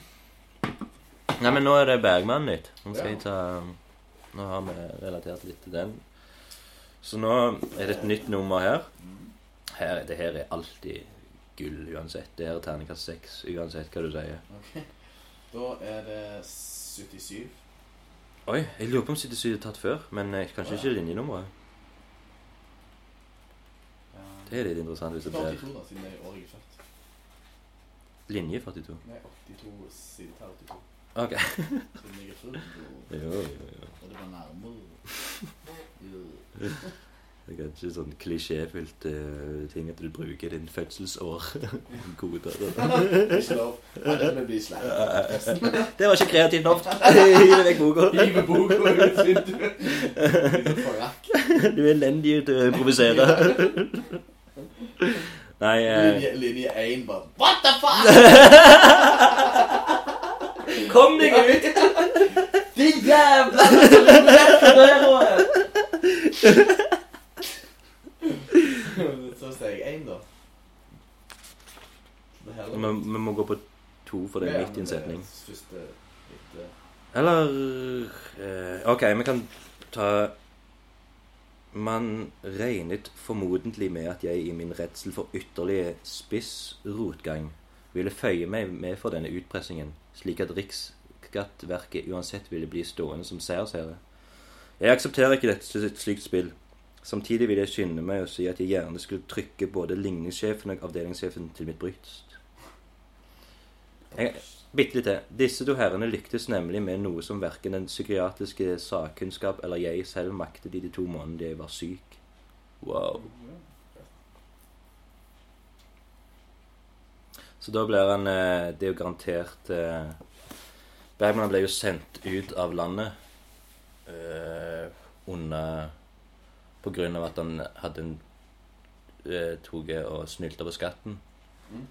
Speaker 1: Nei, men nå er det Bergman nytt. Nå skal
Speaker 2: Ja.
Speaker 1: jeg ta Nå har vi relatert litt til den. Så nå er det et nytt nummer her.
Speaker 2: Mm.
Speaker 1: her det her er alltid gull uansett. Det her er terningkast seks uansett hva du sier.
Speaker 2: Ok. Da er det 77.
Speaker 1: Oi, jeg lurer på om 77 er tatt før, men eh, kanskje ikke linjenummeret.
Speaker 2: Ja.
Speaker 1: Det er litt interessant hvis
Speaker 2: Så
Speaker 1: det blir
Speaker 2: 82, da, siden det er året jeg er født.
Speaker 1: linje 42.
Speaker 2: Nei, 82 siden det er 82.
Speaker 1: Ok.
Speaker 2: Siden jeg er født.
Speaker 1: Jo, jo, jo.
Speaker 2: Og det var nærmere. Jo.
Speaker 1: Det er ikke sånn klisjéfylt eh, ting at du bruker din fødselsår. Koder.
Speaker 2: Ikke lov. Alle vil bli slem.
Speaker 1: Det var ikke kreativt nok. Hiv det vekk boka.
Speaker 2: Hive boka ut vinduet. Litt forakt.
Speaker 1: Du er elendig til å improvisere. Nei eh,
Speaker 2: Linje- Linje 1 bare What the fuck?!
Speaker 1: Kom deg ut!
Speaker 2: Din jævla Så steg 1, da. Det her-
Speaker 1: Vi, vi må gå på to, for det
Speaker 2: Ja,
Speaker 1: er
Speaker 2: men
Speaker 1: midt i en setning.
Speaker 2: Første litt, eh,
Speaker 1: Eller eh, OK, vi kan ta Man regnet formodentlig med at jeg i min redsel for ytterligere spiss rotgang ville føye meg med for denne utpressingen, slik at Riksskattverket uansett ville bli stående som seiersherre. Jeg aksepterer ikke dette som et slikt spill. Samtidig vil jeg skynde meg å si at jeg gjerne skulle trykke både ligningssjefen og avdelingssjefen til mitt bryst. Jeg, bitte litt til. Disse to herrene lyktes nemlig med noe som verken den psykiatriske sakkunnskap eller jeg selv maktet i de to månedene jeg var syk. Wow. Så da blir han eh, Det er jo garantert eh, Bergman ble jo sendt ut av landet eh, under På grunn av at han hadde en eh, toget og snylta på skatten.
Speaker 2: Mm.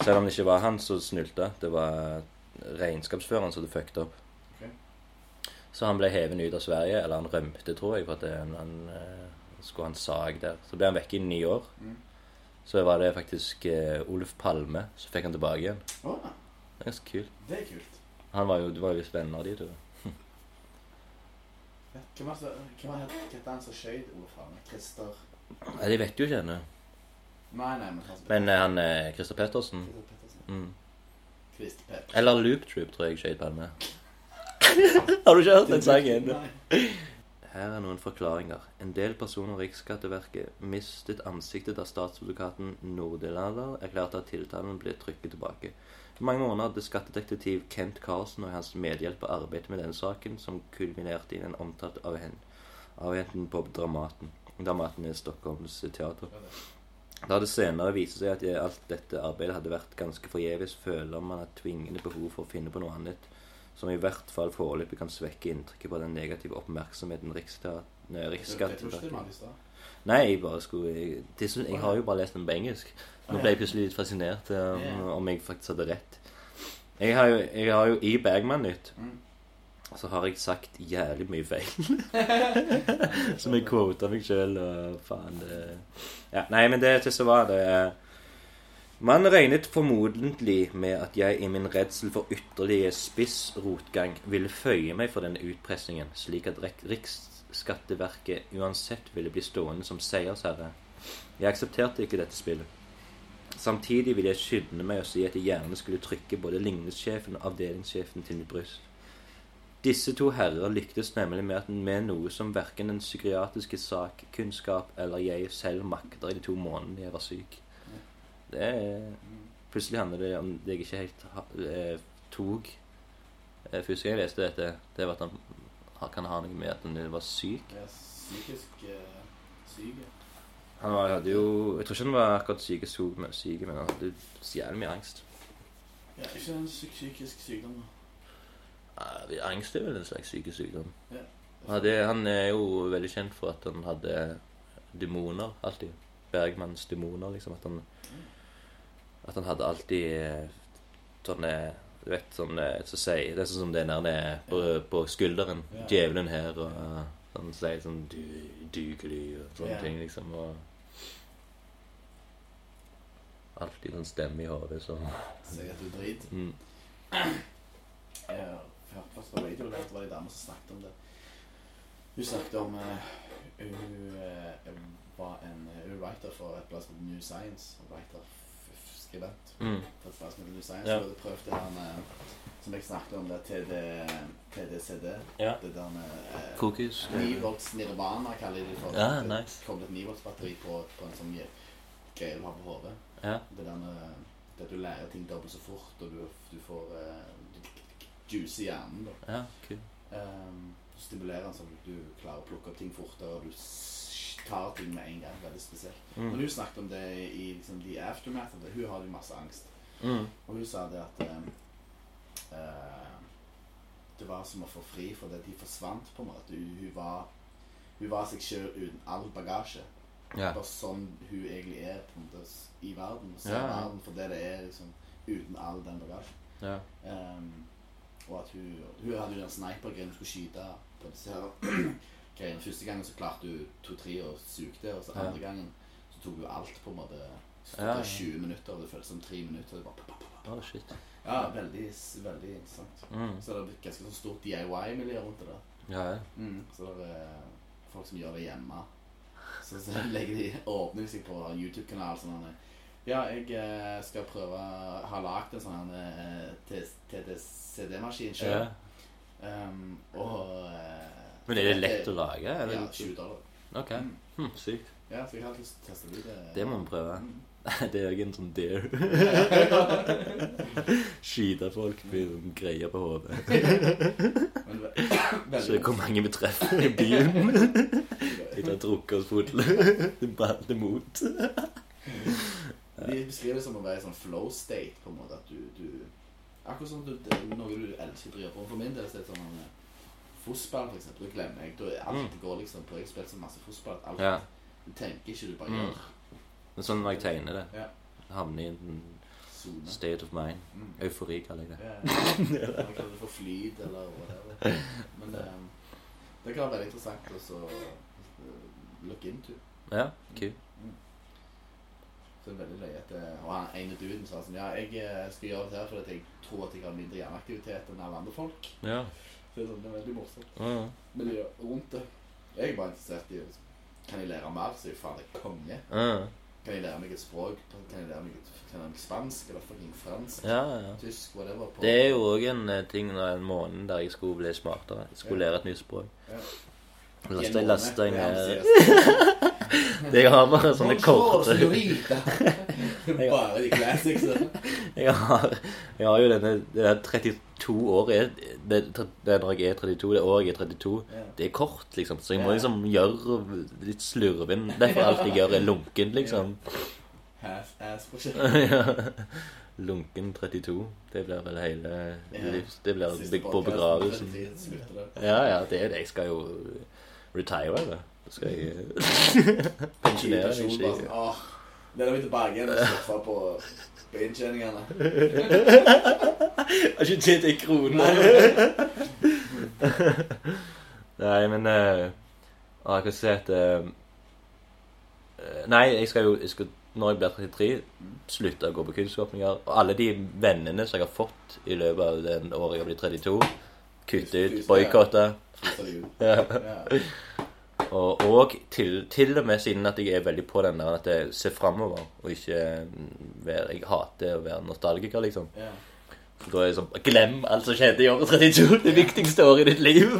Speaker 1: Selv om det ikke var han som snylta, det var regnskapsføreren som hadde fucket opp.
Speaker 2: Ok.
Speaker 1: Så han ble hevet ut av Sverige, eller han rømte, tror jeg, for at eh, han eh, skulle ha en sag der. Så ble han vekke i ni år.
Speaker 2: Mm.
Speaker 1: Så var det faktisk eh, Oluf Palme som fikk han tilbake igjen.
Speaker 2: Å, ja.
Speaker 1: Det er ganske kult.
Speaker 2: det er kult.
Speaker 1: Han var jo, det var jo visst venner av de to.
Speaker 2: Ja, Hvem er det som- hvem er det hva heter han som skjøt Olof Palme? Christer
Speaker 1: Nei, de vet jo ikke henne.
Speaker 2: Nei, nei, men han som-
Speaker 1: Men eh, han eh, Christer Pettersen
Speaker 2: Christer Pettersen.
Speaker 1: mm.
Speaker 2: Christer Pettersen.
Speaker 1: Eller Loop Troop tror jeg skøyt Palme. Har du ikke hørt den sangen?
Speaker 2: Nei.
Speaker 1: Her er noen forklaringer. En del personer i Riksskatteverket mistet ansiktet da statsadvokaten Nordelander erklærte at tiltalen ble trykket tilbake. I mange måneder hadde skattedetektiv Kent Carlsen og hans medhjelper arbeidet med denne saken, som kulminerte i den omtalte avhen- avhenten på Dramaten. Dramaten er Stockholms teater.
Speaker 2: Ja, det-
Speaker 1: Da det senere viste seg at jeg, alt dette arbeidet hadde vært ganske forgjeves, føler man et tvingende behov for å finne på noe annet, som i hvert fall foreløpig kan svekke inntrykket på den negative oppmerksomheten Riksteat- nei,
Speaker 2: Det tror ikke det var
Speaker 1: Riksskatteverket
Speaker 2: i stad.
Speaker 1: Nei, jeg bare skulle jeg, det er sånn- jeg har jo bare lest den på engelsk. Nå ble jeg plutselig litt fascinert eh, om,
Speaker 2: Ja.
Speaker 1: om jeg faktisk hadde rett. Jeg har jo, jeg har jo i Bergman-nytt
Speaker 2: Mm.
Speaker 1: så har jeg sagt jævlig mye feil. Som
Speaker 2: Mm.
Speaker 1: jeg quota meg sjøl og faen det ja, Nei, men det til så var det eh, Man regnet formodentlig med at jeg i min redsel for ytterligere spissrotgang ville føye meg for denne utpressingen, slik at Rek- Riksskatteverket uansett ville bli stående som seiersherre. Jeg aksepterte ikke dette spillet. Samtidig vil jeg skynde meg å si at jeg gjerne skulle trykke både ligningssjefen og avdelingssjefen til mitt bryst. Disse to herrer lyktes nemlig med, at- med noe som verken den psykiatriske sakkunnskap eller jeg selv makter i de to månedene jeg var syk. Det er
Speaker 2: Mm.
Speaker 1: Plutselig handler det om det jeg ikke helt ha- eh, tok eh, Første gang jeg leste dette, det var at han han kan ha noe med at han var syk.
Speaker 2: Jeg er psykisk eh, syk. ja.
Speaker 1: Han var, hadde jo Jeg tror ikke han var akkurat syk, syk, men- syk men han hadde så jævlig mye angst.
Speaker 2: Ja, ikke en psy- psykisk sykdom. da.
Speaker 1: Eh, Angst er vel en slags psykisk sykdom.
Speaker 2: Ja.
Speaker 1: Han hadde- han er jo veldig kjent for at han hadde demoner alltid. Bergmanns demoner, liksom. At han, at han hadde alltid eh, sånne Du vet, sånne så sier, Det er sånn som den der nede på, på skulderen.
Speaker 2: Ja.
Speaker 1: Djevelen her og eh, Han sier sånn du, Dugelig og sånne
Speaker 2: Ja.
Speaker 1: ting, liksom. Og alltid sånn stemme i hodet som
Speaker 2: Sier at du er drit.
Speaker 1: mm,
Speaker 2: Jeg hørte først på radioen at det var en dame som snakket om det. Hun snakket om eh, Hun eh, var en eh, hun er writer for et plass som heter New Science. og Writer, f- f- skribent
Speaker 1: mm,
Speaker 2: for et plass som heter New Science.
Speaker 1: Ja.
Speaker 2: Hun hadde prøvd det her med eh, Som jeg snakket om, det TD, TDCD.
Speaker 1: Ja.
Speaker 2: Det der med eh,
Speaker 1: Kokos.
Speaker 2: 9 volts nirvana kaller de det for.
Speaker 1: Ja,
Speaker 2: Det
Speaker 1: nice.
Speaker 2: kom et 9 volts batteri på, på en sånn greie du har på hodet.
Speaker 1: Ja.
Speaker 2: Det der med at du lærer ting dobbelt så fort, og du, du får eh, du juice i hjernen. da.
Speaker 1: Ja, kult.
Speaker 2: Ehm, stimulerer sånn at du klarer å plukke opp ting fortere, og du s- tar ting med en gang. Veldig spesielt.
Speaker 1: Mm.
Speaker 2: Men hun snakket om det i liksom, The Aftermath. At hun hadde jo masse angst.
Speaker 1: Mm.
Speaker 2: Og hun sa det at eh, eh, Det var som å få fri fordi de forsvant, på en måte. Hun, hun, var, hun var seg sjøl uten all bagasje.
Speaker 1: Ja.
Speaker 2: Bare sånn hun egentlig er på en måte, s- i verden. Ser
Speaker 1: Ja, ja.
Speaker 2: verden for det det er, liksom. Uten all den bagasjen.
Speaker 1: ja.
Speaker 2: Ehm, og at hun Hun hadde jo den snipergreien hun skulle skyte på disse her greiene. Første gangen så klarte hun to-tre og sugde, og så
Speaker 1: Ja.
Speaker 2: andre gangen så tok hun alt, på en måte. Så tok
Speaker 1: Ja, ja.
Speaker 2: det 20 minutter, og det føltes som 3 minutter. Og det bare
Speaker 1: Oh, shit.
Speaker 2: ja, veldig, veldig interessant.
Speaker 1: Mm.
Speaker 2: Så det har blitt ganske sånn stort DIY-miljø rundt det. da.
Speaker 1: Ja, ja.
Speaker 2: Så det er eh, folk som gjør det hjemme. Så, så legger de åpner de seg på en YouTube-kanal sånn han er, Ja, jeg eh, skal prøve Har lagd en sånn TDCD-maskin sjøl.
Speaker 1: ja.
Speaker 2: Ehm, og eh,
Speaker 1: Men er det lett å lage? Eller?
Speaker 2: Ja, 20 dollar.
Speaker 1: Ok.
Speaker 2: Mm.
Speaker 1: Hm, sykt.
Speaker 2: Ja, så jeg har lyst til å teste det ut. eh.
Speaker 1: Det må vi prøve.
Speaker 2: Mm.
Speaker 1: Det er jo ikke en sånn dare. Skyte folk med sånn greier på hodet.
Speaker 2: Men, ve-
Speaker 1: Så
Speaker 2: veldig,
Speaker 1: hvor mange vi treffer i byen etter å ha drukket oss fulle. Det baller mot.
Speaker 2: De beskriver det som å være i sånn flow state, på en måte. At du, du Akkurat som du, det er noe du elsker å drive på. For min del så er det sånn eh, Fotball, for eksempel, det glemmer jeg. Da er alt går liksom på. Jeg har spilt så masse fotball at alt
Speaker 1: Mm. Ja.
Speaker 2: Du tenker ikke, du bare
Speaker 1: Mm.
Speaker 2: gjør.
Speaker 1: Men sånn når jeg tegner det.
Speaker 2: Ja.
Speaker 1: Havner i en
Speaker 2: Sone.
Speaker 1: state of mind.
Speaker 2: Mm.
Speaker 1: Eufori kaller jeg det.
Speaker 2: Ja, ja. Man kaller det for flyt, eller whatever. Men det, det kan være veldig interessant å så, eh, look into.
Speaker 1: Ja, kult.
Speaker 2: Så det er veldig løye at det- Og han ene duden sa sånn Ja, jeg eh, skal gjøre det her fordi at jeg tror at jeg har mindre hjerneaktivitet enn alle andre folk.
Speaker 1: Ja.
Speaker 2: Så det er sånn, det er veldig morsomt.
Speaker 1: Ja.
Speaker 2: miljø rundt det. Jeg er bare interessert i liksom, Kan jeg lære mer, så er jo faen meg konge.
Speaker 1: Ja,
Speaker 2: Kan jeg lære meg et språk? Kan jeg lære meg, et, kan jeg lære meg spansk eller fucking fransk?
Speaker 1: ja. ja.
Speaker 2: Tysk, whatever. På.
Speaker 1: Det er jo òg en eh, ting når en måned der jeg skulle bli smartere. Jeg skulle lære et nytt språk.
Speaker 2: Ja.
Speaker 1: Lasta lasta jeg ned
Speaker 2: ned
Speaker 1: Jeg har bare sånne korte
Speaker 2: Bare de classics. da.
Speaker 1: Jeg har, jeg har jo denne det der 32 året jeg- det, det er når jeg er 32, det året jeg er 32
Speaker 2: Ja.
Speaker 1: Det er kort, liksom. Så jeg må
Speaker 2: Ja.
Speaker 1: liksom gjøre litt slurven. Derfor alt jeg gjør, er lunken, liksom.
Speaker 2: Half-ass-prosjekt.
Speaker 1: Ja. Lunken 32. Det blir vel hele
Speaker 2: Ja.
Speaker 1: livs... Det blir
Speaker 2: Siste
Speaker 1: bygd på
Speaker 2: podcasten,
Speaker 1: begravelsen.
Speaker 2: det slutter der.
Speaker 1: Ja, ja, det er det. Jeg skal jo retire, eller? Da skal jeg eh,
Speaker 2: Kjip
Speaker 1: pensjonere
Speaker 2: person, bare
Speaker 1: meg.
Speaker 2: sånn, Åh, det er da vi tilbake igjen og surfer på på inntjeningene.
Speaker 1: Har ikke tjent ei krone. Nei, men eh, ah, Jeg kan si at eh, eh, Nei, jeg skal jo jeg skal, Når jeg blir 33,
Speaker 2: Mm.
Speaker 1: slutte å gå på kunståpninger. Og alle de vennene som jeg har fått i løpet av den året jeg har blitt 32, kutte ut, boikotte.
Speaker 2: Slutter de ut.
Speaker 1: Ja.
Speaker 2: Ja.
Speaker 1: Og, og til, til og med siden at jeg er veldig på den der at jeg ser framover og ikke mm, være, Jeg hater å være nostalgiker, liksom.
Speaker 2: Ja.
Speaker 1: Da er det sånn Glem alt som skjedde i året 32. Det viktigste året i ditt liv.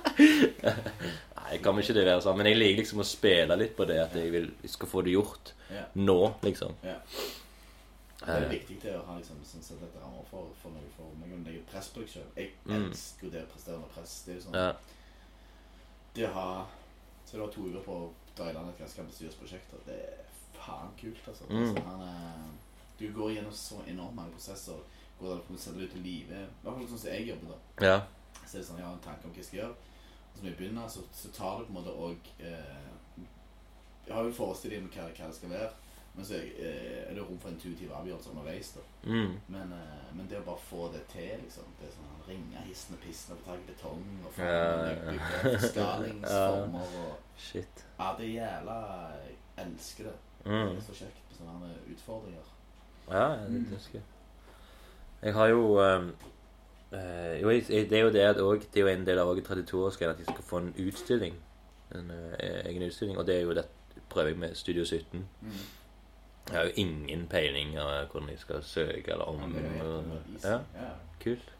Speaker 1: Nei, kan vi ikke det være sånn? Men jeg liker liksom å spille litt på det at jeg, vil, jeg skal få det gjort
Speaker 2: ja.
Speaker 1: nå, liksom.
Speaker 2: Ja. Det er viktig til å ha liksom, sånn sett et rammer for, for noe for meg. Om det er press på deg selv. Jeg
Speaker 1: Mm.
Speaker 2: elsker jo det å prestere under press. Det er jo sånn
Speaker 1: Ja.
Speaker 2: Det å ha Så du har to uker på å dra i land et ganske ambisiøst prosjekt, og det er faen kult, altså.
Speaker 1: Mm.
Speaker 2: altså han er, du går gjennom så enormt mange prosesser. Hvordan du kommer til å sette deg ut i live. I hvert fall sånn som jeg jobber, da.
Speaker 1: ja.
Speaker 2: Så er det sånn, jeg har en tanke om hva jeg skal gjøre. Og så når jeg begynner, så, så tar det på en måte òg eh, Jeg har jo en forestilling om hva, hva det skal være, men så er, eh, er det rom for intuitive avgjørelser underveis. da.
Speaker 1: Mm.
Speaker 2: Men, eh, men det å bare få det til, liksom Det er sånn han ringer hissende og pissende på taket betong og
Speaker 1: Ja, ja, ja.
Speaker 2: bygger skalingsformer og
Speaker 1: Shit.
Speaker 2: Ja, det er jævla Jeg elsker det. Det
Speaker 1: Mm.
Speaker 2: er så kjekt med sånne her utfordringer.
Speaker 1: Ja,
Speaker 2: Mm.
Speaker 1: det husker jeg. Jeg har jo ehm, eh, Jo, jeg, jeg- det er jo det at også- Det er jo en del av også 32-årsgreien at jeg skal få en utstilling. En eh, egen utstilling. Og det er jo det prøver jeg med Studio 17.
Speaker 2: Mm.
Speaker 1: Jeg har jo ingen peiling av hvordan jeg skal søke eller om.
Speaker 2: Men det er jo helt
Speaker 1: og-
Speaker 2: amazing.
Speaker 1: Ja,
Speaker 2: Ja.
Speaker 1: kult.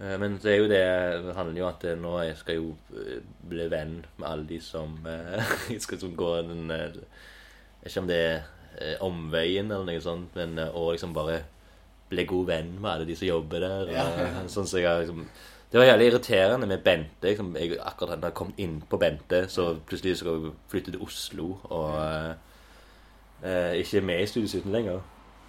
Speaker 1: Eh, Men det er jo det Det handler jo at eh, nå jeg skal jo eh, bli venn med alle de som eh, Jeg skal liksom gå den eh, Jeg vet ikke om det er eh, omveien eller noe sånt, men eh, og liksom bare bli god venn med alle de som jobber der.
Speaker 2: Ja.
Speaker 1: Og, sånn så jeg har liksom det var jævlig irriterende med Bente. Liksom, jeg akkurat hadde kommet inn på Bente, så plutselig skal hun flytte til Oslo og eh, eh, ikke er med i Studio 17 lenger.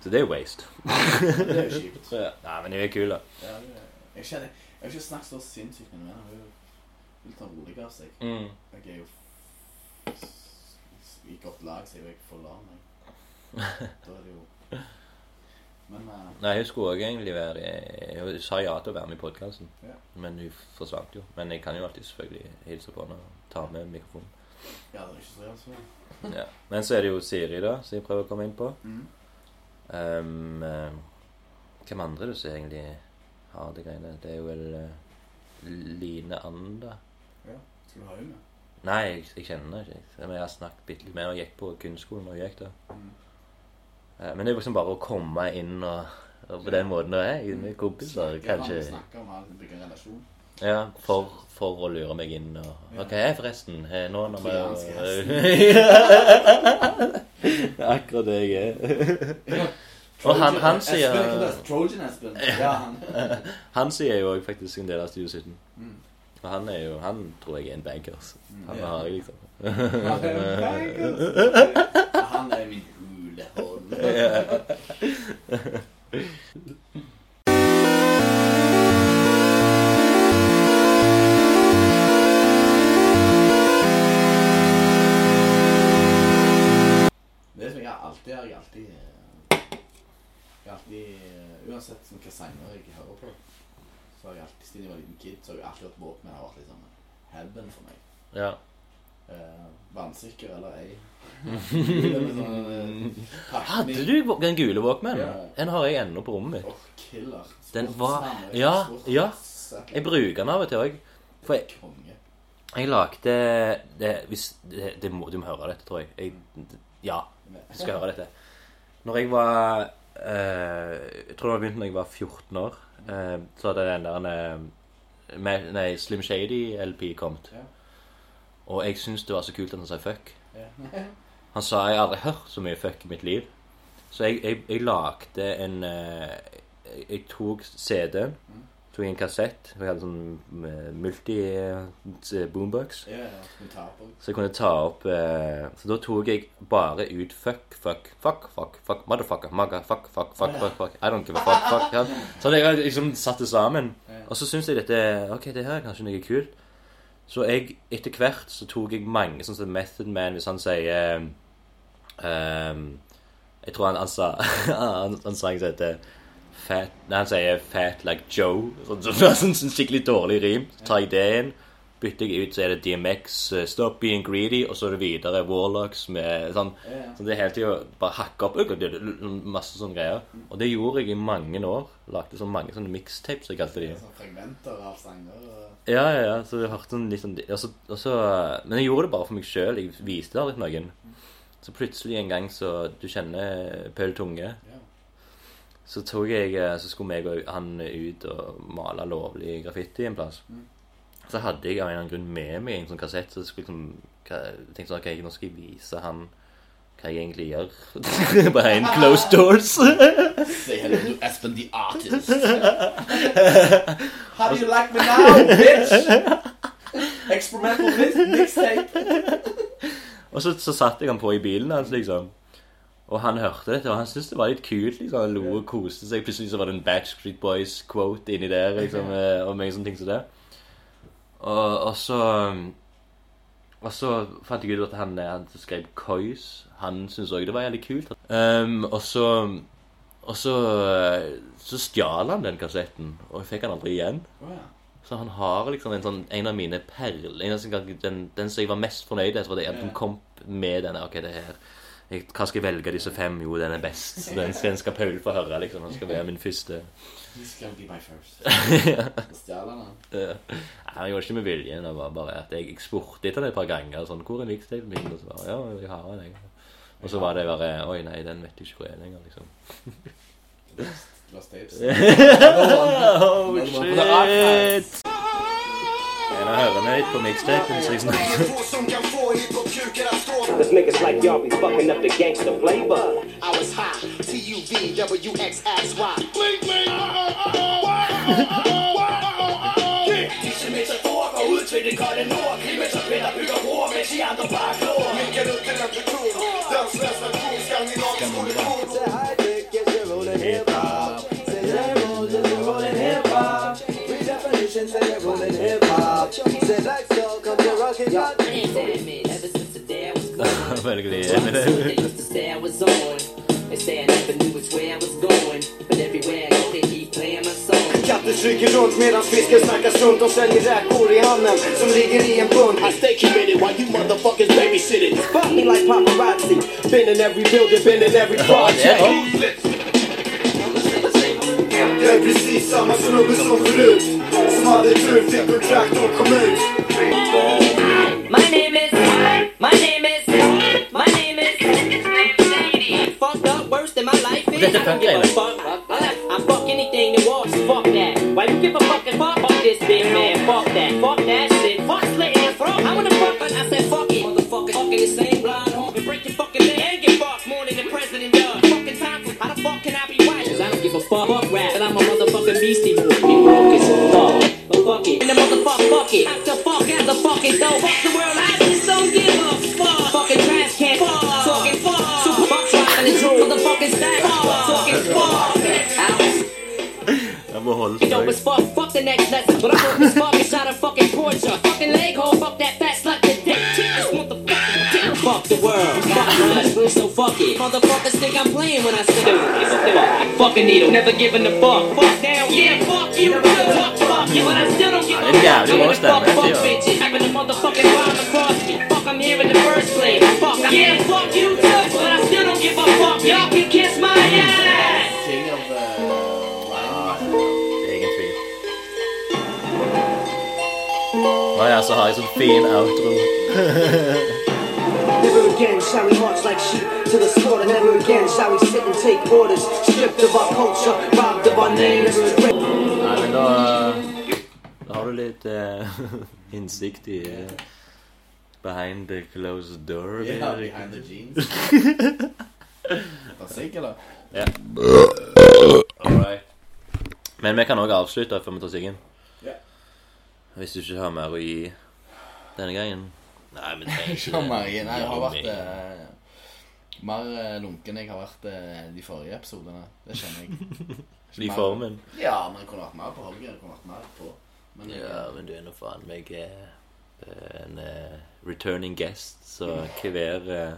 Speaker 1: Så det er waste.
Speaker 2: Men Det er jo kjipt.
Speaker 1: Så, ja. Nei, men hun er kul, da.
Speaker 2: Ja, det er- jeg kjenner Jeg har ikke snakket så sinnssykt med henne. Hun er jo litt sånn rolig av seg.
Speaker 1: Mm.
Speaker 2: Jeg er jo s- s- i godt lag, så jeg er jo ikke for lam. jeg. Da er det jo Men eh,
Speaker 1: Nei, hun skulle også egentlig være Hun sa ja til å være med i podkasten,
Speaker 2: Ja.
Speaker 1: men hun forsvant jo. Men jeg kan jo alltid selvfølgelig hilse på henne og ta med mikrofonen.
Speaker 2: Ja, det er ikke så jævlig.
Speaker 1: Ja. Men så er det jo Siri, da, som jeg prøver å komme inn på.
Speaker 2: Mm.
Speaker 1: Ehm, eh, hvem andre du ser egentlig har det greiene? Det er jo vel eh, Line Anda.
Speaker 2: Skal du ha henne?
Speaker 1: Nei, jeg, jeg kjenner henne ikke. Men jeg har snakket bitte litt med henne. Jeg gikk på kunstskolen og gikk der.
Speaker 2: Mm.
Speaker 1: Eh, Men det er liksom bare å komme inn og, og på den måten og jeg, med kompiser, kanskje.
Speaker 2: Snakke om alt, bygge en relasjon.
Speaker 1: Ja, for, for å lure meg inn og
Speaker 2: Ja.
Speaker 1: OK, hei, forresten. eh, Nå når
Speaker 2: Trojanske
Speaker 1: vi Det er akkurat det jeg er. Og han- han
Speaker 2: Trojan-
Speaker 1: sier-
Speaker 2: Espen, ikke det? Trojan Espen. Ja, han.
Speaker 1: Han sier jo også faktisk en del av Studio 17.
Speaker 2: Mm.
Speaker 1: Og han er jo Han tror jeg er en bankers. Han
Speaker 2: Ja.
Speaker 1: har jeg liksom
Speaker 2: Han er en bankers. Han er min hulehånd. Det som jeg alltid har, jeg alltid eh, Jeg har alltid eh, Uansett som hvilke sanger jeg hører på, så har jeg alltid siden jeg var liten kid, så har jeg alltid hatt våpen har vært liksom heaven for meg.
Speaker 1: Ja.
Speaker 2: Eh, Vannsikker eller ei. Det er sånn, eh,
Speaker 1: Hadde
Speaker 2: pakning.
Speaker 1: du vo- den gule Walkman?
Speaker 2: Ja.
Speaker 1: Den har jeg ennå på rommet mitt.
Speaker 2: Åh, killer.
Speaker 1: Den var-
Speaker 2: Sportsmann,
Speaker 1: ja,
Speaker 2: sports-
Speaker 1: ja. Jeg bruker den av og til òg. For jeg,
Speaker 2: Konge.
Speaker 1: jeg lagde det, hvis, det, det må, Du må høre dette, tror jeg. jeg ja. Du skal høre dette. Når jeg var eh, Jeg tror det begynte når jeg var 14 år. eh, så hadde den der eh, Ma- Nei, Slim Shady-LP kommet.
Speaker 2: Ja.
Speaker 1: Og jeg syntes det var så kult at han sa fuck.
Speaker 2: Ja.
Speaker 1: Han sa jeg har aldri hørt så mye fuck i mitt liv. Så jeg, jeg, jeg lagde en eh, jeg, jeg tok CD-en,
Speaker 2: Mhm.
Speaker 1: tok en kassett og Jeg hadde sånn eh, multi-boombox.
Speaker 2: Ja, ja, hun tar på.
Speaker 1: Så jeg kunne ta opp eh, Så da tok jeg bare ut fuck, fuck, fuck, fuck, fuck, motherfucker, maga, fuck, fuck, fuck, fuck, fuck, I don't give a fuck, fuck. Ja. Så jeg har liksom satt det sammen.
Speaker 2: Ja.
Speaker 1: Og så syns jeg dette Ok, det her er kanskje noe kult. Så jeg, etter hvert, så tok jeg mange sånn som Method Man, hvis han sier ehm, Jeg tror han, han sa Han, han sang som heter Fat Nei, han sier 'fat like Joe'. Sånn, sånn, sånn, sånn skikkelig dårlig rim. Så tar jeg det inn. bytter jeg ut, så er det DMX, eh, Stop Being Greedy, og så er det videre Warlocks med sånn
Speaker 2: Ja, ja.
Speaker 1: Så det er hele tida bare hakke opp øk, og det- det- det- masse sånne greier. Og det gjorde jeg i mange år. Lagde så mange sånne mixtapes, som jeg kalte de.
Speaker 2: Sånn fragmenter av sanger og
Speaker 1: Ja, ja, ja. Så jeg hørte sånn litt sånn og så, og så, Men jeg gjorde det bare for meg sjøl. Jeg viste det aldri til noen. Så plutselig en gang så Du kjenner Paul Tunge?
Speaker 2: ja.
Speaker 1: Så tok jeg, eh, så skulle meg og han ut og male lovlig graffiti en plass.
Speaker 2: Mm.
Speaker 1: Så hadde jeg av en eller annen grunn med meg en sånn kassett, så jeg skulle liksom, hva- tenkte sånn, ok, nå skal jeg vise han hva jeg egentlig gjør. Behind closed doors.
Speaker 2: Say hello to Espen the artist. How do you like me now, bitch? Experimental mi- mixtape.
Speaker 1: og så, så satte jeg han på i bilen hans, liksom. Og han hørte dette, og han syntes det var litt kult, liksom. Han lo og koste seg. Plutselig så var det en Bad Street Boys-quote inni der, liksom, eh, og mange sånne ting som det. Og, og så um, Og så fant jeg ut at han, eh, han som skrev Kois, han syntes òg det var jævlig kult. Ehm, og så Og så eh, Så stjal han den kassetten, og jeg fikk han aldri igjen.
Speaker 2: Oh, ja.
Speaker 1: Så han har liksom en sånn En av mine perler en av sine- den, den som jeg var mest fornøyd med, så var det at
Speaker 2: Ja.
Speaker 1: hun kom med denne Ok, det her jeg, Hva skal jeg velge av disse fem? Jo, den er best. Så Den, den skal Paul få høre, liksom. Han skal være min første
Speaker 2: He's gonna be my first. Så stjal han den.
Speaker 1: Eh, Nei, Han gjorde ikke med vilje. Det var bare at jeg, jeg spurte etter det et par ganger. Sånn, 'Hvor er mixtapen min?' Og så bare 'Ja, jeg har den, jeg'. Og så var det bare 'Oi, nei, den vet jeg ikke hvor er lenger', liksom.
Speaker 2: Lost, lost tapes.
Speaker 1: Oh,
Speaker 2: Another one for the archives.
Speaker 1: shit! En av hørene på mixtapen, så jeg snakker
Speaker 3: Cause niggas like y'all be fucking up the gangster flavor.
Speaker 4: I was high. T U V W X X Y.
Speaker 5: Disse mænd, der bor, går ud til det kolde nord. Klimatabletter bygger broer, mens de andre bare glor.
Speaker 4: Men jeg ved, den er beton. Der er svært, at du skal i nok skulle kunne.
Speaker 6: Ever since the day I was born,
Speaker 1: veldig
Speaker 6: they used to say I was on. They say I never knew which way I was going, but everywhere I go, they keep playing my song.
Speaker 4: Katter stryker runt medan fisken snackar sunt och säljer räkor i handen som ligger i en bunt.
Speaker 5: I stay committed while you motherfuckers babysit it.
Speaker 4: Fuck me like paparazzi. Been in every building, been in every project. Jag är precis samma snubbe som förut. Som hade tur, fick kontrakt och kom ut.
Speaker 6: My name is, my name is, my name is. Fucked up worse than my life is.
Speaker 1: That's a
Speaker 6: I don't
Speaker 1: fun
Speaker 6: give a
Speaker 1: guy,
Speaker 6: fuck. I fuck anything that walks. Fuck that. Why you give a fuck and fuck? Fuck this big man. Fuck that. Fuck that shit. Fuck slit and throat. I wanna fuck, but I said fuck it. Motherfucker, fucking the same blind home and break your fucking leg and get fucked more than the president does. Fucking time for how the fuck can I be right? 'Cause I don't give a fuck. Fuck rap, but I'm a motherfucking beastie boy. Be broke as fuck. But fuck it. And the motherfucker fuck it. After fuck, after fuck it though. Fuck the world, I just don't give a fuck. Fucking trash can. Fuck. Talking fuck. Super fuck driving the truth. Motherfucking stack. Fuck. Talking fuck. Ow.
Speaker 1: Jeg må holde
Speaker 6: Yo, it's fuck, fuck the next lesson. But I this fuck is out of fucking torture. Fucking leg hole, fuck that fat slut to dick. Kick this motherfucking dick. Fuck the world, fuck my husband, so fuck it. Motherfuckers think I'm playing when I say fuck. Fucking needle, never giving a fuck. Fuck down, yeah, fuck you, fuck, fuck you, but I still don't give a
Speaker 1: didn't get it.
Speaker 6: fuck. I'm
Speaker 1: You
Speaker 6: gonna
Speaker 1: lost that
Speaker 6: fuck,
Speaker 1: match,
Speaker 6: fuck
Speaker 1: yeah.
Speaker 6: bitches. I'm gonna motherfucking bomb across me. Fuck, I'm here in the first place. Fuck, I- yeah, fuck you too, but I still don't give a fuck. Y'all can kiss my ass.
Speaker 2: King of the Lion.
Speaker 1: Egen tvil. Nå ja, så har jeg sånn fin outro.
Speaker 3: Never again shall we march like sheep to the slaughter. Never again shall we sit and take orders. Stripped of our culture, robbed of our name. Never again.
Speaker 1: Nei, men da Da har du litt eh, innsikt i eh, Behind the closed door.
Speaker 2: Yeah,
Speaker 1: eller?
Speaker 2: behind the jeans. Da sikker da.
Speaker 1: Alright. Men vi kan òg avslutte før vi tar siggen.
Speaker 2: Ja.
Speaker 1: Hvis du ikke har mer å gi denne gangen. Nei, men det er ikke
Speaker 2: Sjå, Marie. Nei, jeg har
Speaker 1: Gi
Speaker 2: vært
Speaker 1: meg.
Speaker 2: eh, mer eh, lunken enn jeg har vært eh, de forrige episodene. Det kjenner jeg.
Speaker 1: I formen.
Speaker 2: Ja, men jeg kunne vært mer på Holger. Jeg kunne vært mer på. Men jeg-
Speaker 1: Ja, men du er nå faen meg eh, en eh, returning guest, så hver, eh,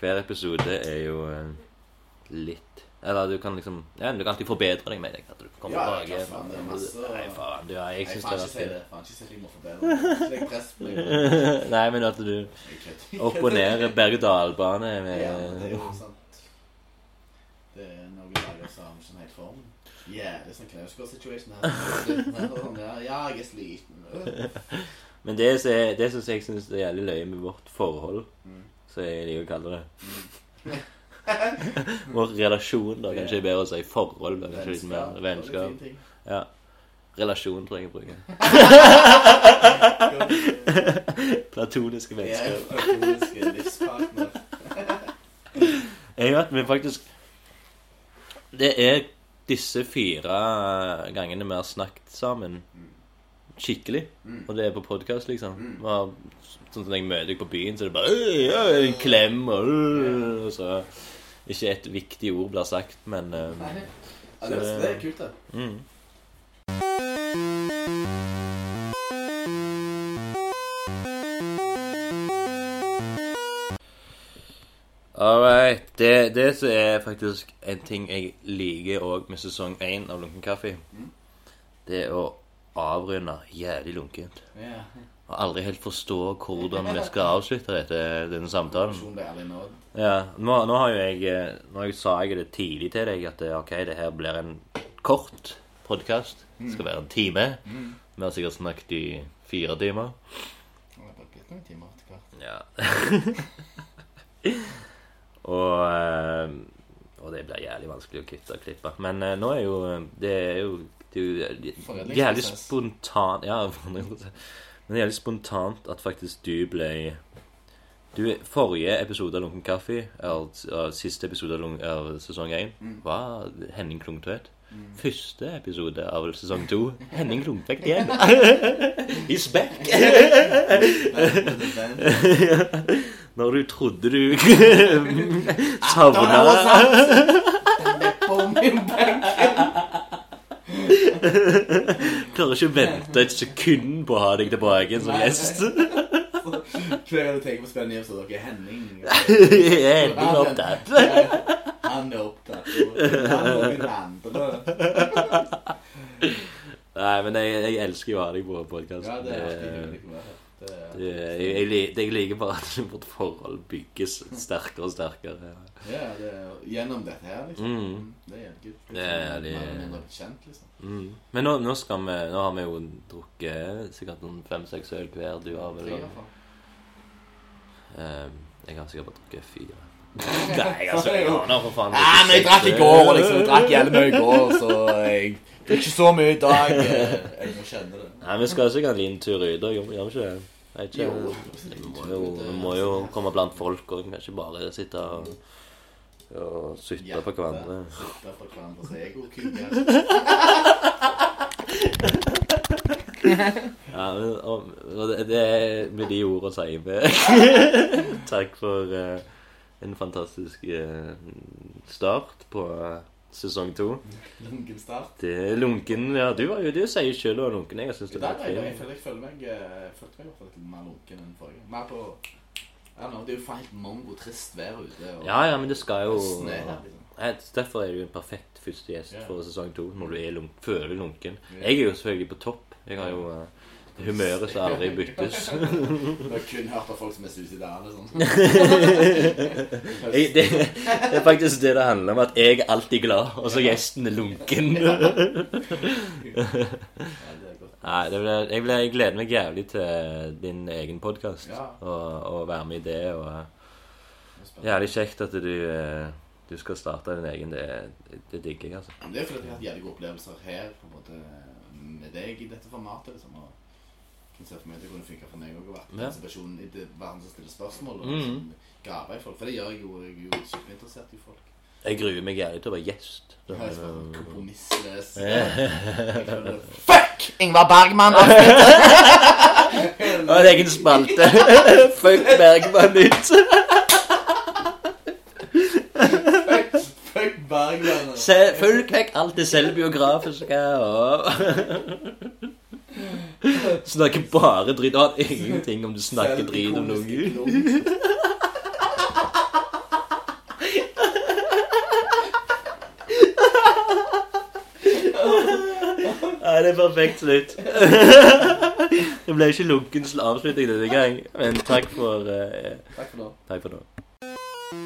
Speaker 1: hver episode er jo eh, litt Eller du kan liksom Ja, du kan alltid forbedre deg med deg. At du kan Kom
Speaker 2: Ja,
Speaker 1: tilbake.
Speaker 2: hva faen, det er masse-
Speaker 1: Nei, faen. Ja, jeg
Speaker 2: Jeg
Speaker 1: syns
Speaker 2: faen
Speaker 1: det
Speaker 2: ikke
Speaker 1: var
Speaker 2: si
Speaker 1: fint.
Speaker 2: det. Faen ikke si det. Jeg må forbedre meg. Press på meg.
Speaker 1: Nei, men at du
Speaker 2: Jeg kødder.
Speaker 1: opp og ned berg-og-dal-bane med
Speaker 2: Ja, men det er
Speaker 1: Eh.
Speaker 2: jo sant. Det er noen dager som har ikke helt form. Yeah, det er sånn Knausgård-situation her. Ja, jeg er sliten.
Speaker 1: Men det som er- det som jeg syns er jævlig løye med vårt forhold, som jeg liker å kalle det Vår relasjon, da. Kanskje er bedre å si forhold. da, kanskje litt mer
Speaker 2: Vennskap.
Speaker 1: Vennskap. Ja. Relasjon tror jeg jeg bruker. Platoniske
Speaker 2: Jeg er
Speaker 1: vennskap.
Speaker 2: en platonisk livspartner.
Speaker 1: Jeg vet, men faktisk Det er disse fire eh, gangene vi har snakket sammen skikkelig. Og det er på podkast, liksom. Vi har, sånn som jeg møter deg på byen, så er det bare «Øy, øy», en klem og, øh, og så Ikke et viktig ord blir sagt, men øh,
Speaker 2: Ja, det, er- det er kult, det.
Speaker 1: All right. Det, det som er faktisk en ting jeg liker òg med sesong én av Lunken kaffe, det er å avrunde jævlig lunkent.
Speaker 2: Ja.
Speaker 1: Og aldri helt forstå hvordan vi skal avslutte dette, denne samtalen.
Speaker 2: Person det er ærlig nå.
Speaker 1: Ja, nå, nå har jo jeg eh, Nå jeg sa jeg det tidlig til deg at eh, ok, det her blir en kort podkast. Det skal være en time. Vi har sikkert snakket i fire timer.
Speaker 2: Det er bare blitt noen timer etter hvert.
Speaker 1: Ja. og, eh, og det blir jævlig vanskelig å kutte og klippe. Men eh, nå er jo eh, Det er jo det er jo
Speaker 2: Foredlingsprosess.
Speaker 1: jævlig spontant Ja, foredlingsprosess. Men det er jævlig spontant at faktisk du ble du, Forrige episode av Lunken kaffe, eller eller siste episode av, Lung- av sesong én, var Henning Klungtvedt. Første episode av sesong to Henning Klungtvedt igjen. He's back!
Speaker 2: Men
Speaker 1: Når du trodde du savna
Speaker 2: det er på min benk.
Speaker 1: Klarer ikke å vente et sekund på å ha deg tilbake igjen som
Speaker 2: Nei.
Speaker 1: gjest.
Speaker 2: Flere ganger tenker på spennende hjem, så dere er Henning.
Speaker 1: Jeg er endelig opptatt.
Speaker 2: Han er opptatt. og Han og min andre.
Speaker 1: Nei, men jeg, jeg elsker jo å ha deg på podkast.
Speaker 2: Ja, det er alltid
Speaker 1: jeg,
Speaker 2: hyggelig å være her. Det er-
Speaker 1: jeg, li- jeg liker bare at vårt forhold bygges sterkere og sterkere.
Speaker 2: Ja, det er gjennom dette her, liksom. Det er jævlig kult.
Speaker 1: Det er det-
Speaker 2: Mer eller mindre kjent, liksom.
Speaker 1: Mm. Men nå, nå, skal vi, nå har vi jo drukket sikkert noen fem-seks øl hver. Du har vel
Speaker 2: Tre, i hvert fall.
Speaker 1: Eh, Jeg har sikkert bare drukket fire. Nei, altså, jeg har nå for faen
Speaker 2: Nei, men jeg
Speaker 1: drukket
Speaker 2: drakk i
Speaker 1: seks
Speaker 2: går, og
Speaker 1: øl.
Speaker 2: liksom. Jeg drakk jævlig mye i går, så jeg drikker ikke så mye i dag. eh, Jeg må kjenne det.
Speaker 1: Nei, vi skal sikkert en liten tur ut og gjør gjør vi ikke det? Jeg vet
Speaker 2: Jo.
Speaker 1: ikke. Vi må jo, vi må jo komme blant folk og vi kan ikke bare sitte og, og sutte på hverandre.
Speaker 2: Sitte på hverandres egokuker.
Speaker 1: Ja, men, og, og det, det er med de ordene sier vi takk for eh, en fantastisk eh, start på eh, sesong to.
Speaker 2: Lunken start.
Speaker 1: Det er lunken Ja, du, var jo, du sier jo selv du var lunken. Jeg syns
Speaker 2: I
Speaker 1: det var
Speaker 2: dag er jeg, jeg
Speaker 1: fint.
Speaker 2: føler jeg føler meg eh, følte meg i hvert fall litt mer lunken enn forrige. Mer på Ja, nå, Det er jo faen helt mongo-trist vær ute. og
Speaker 1: Ja, ja, men det skal jo
Speaker 2: snø her, liksom.
Speaker 1: Nei, Derfor er du en perfekt første gjest
Speaker 2: Ja.
Speaker 1: for sesong to, når du er lunk, føler deg lunken. Jeg er jo selvfølgelig på topp. Jeg har jo eh, humøret som aldri byttes.
Speaker 2: Du har kun hørt av folk som er suicidale. Sånn.
Speaker 1: Jeg, det, det er faktisk det det handler om, at jeg er alltid glad, og så gjesten er lunken.
Speaker 2: Ja, det er godt.
Speaker 1: Nei, det blir, jeg, blir, jeg gleder meg jævlig til din egen podkast,
Speaker 2: Ja.
Speaker 1: og, og være med i det. og eh, Jævlig kjekt at du, eh, du skal starte din egen. Det, det digger jeg, altså.
Speaker 2: Men Det er jo fordi jeg har hatt jævlig gode opplevelser her på en måte med deg i dette formatet. liksom, og kan se for meg at det kunne funka for meg òg å være
Speaker 1: Ja.
Speaker 2: den personen i det verden som stiller spørsmål og
Speaker 1: Mhm.
Speaker 2: liksom, grave i folk. For det gjør jeg jo. Jeg er jo superinteressert i folk.
Speaker 1: Jeg gruer meg jævlig til å være gjest.
Speaker 2: Jeg er sånn kompromissløs. Jeg føler-
Speaker 5: Fuck Ingvar Bergman og
Speaker 1: Og en egen spalte. Fuck Bergman ut.
Speaker 2: Fuck Bergland.
Speaker 1: Se, følg vekk alt det selvbiografiske og Snakker bare dritt. Og har ingenting om du snakker dritt om noen. Ja, det er perfekt slutt. det ble ikke lunken sl- avslutning denne gang, men takk for, eh,
Speaker 2: Takk for nå.
Speaker 1: takk for nå.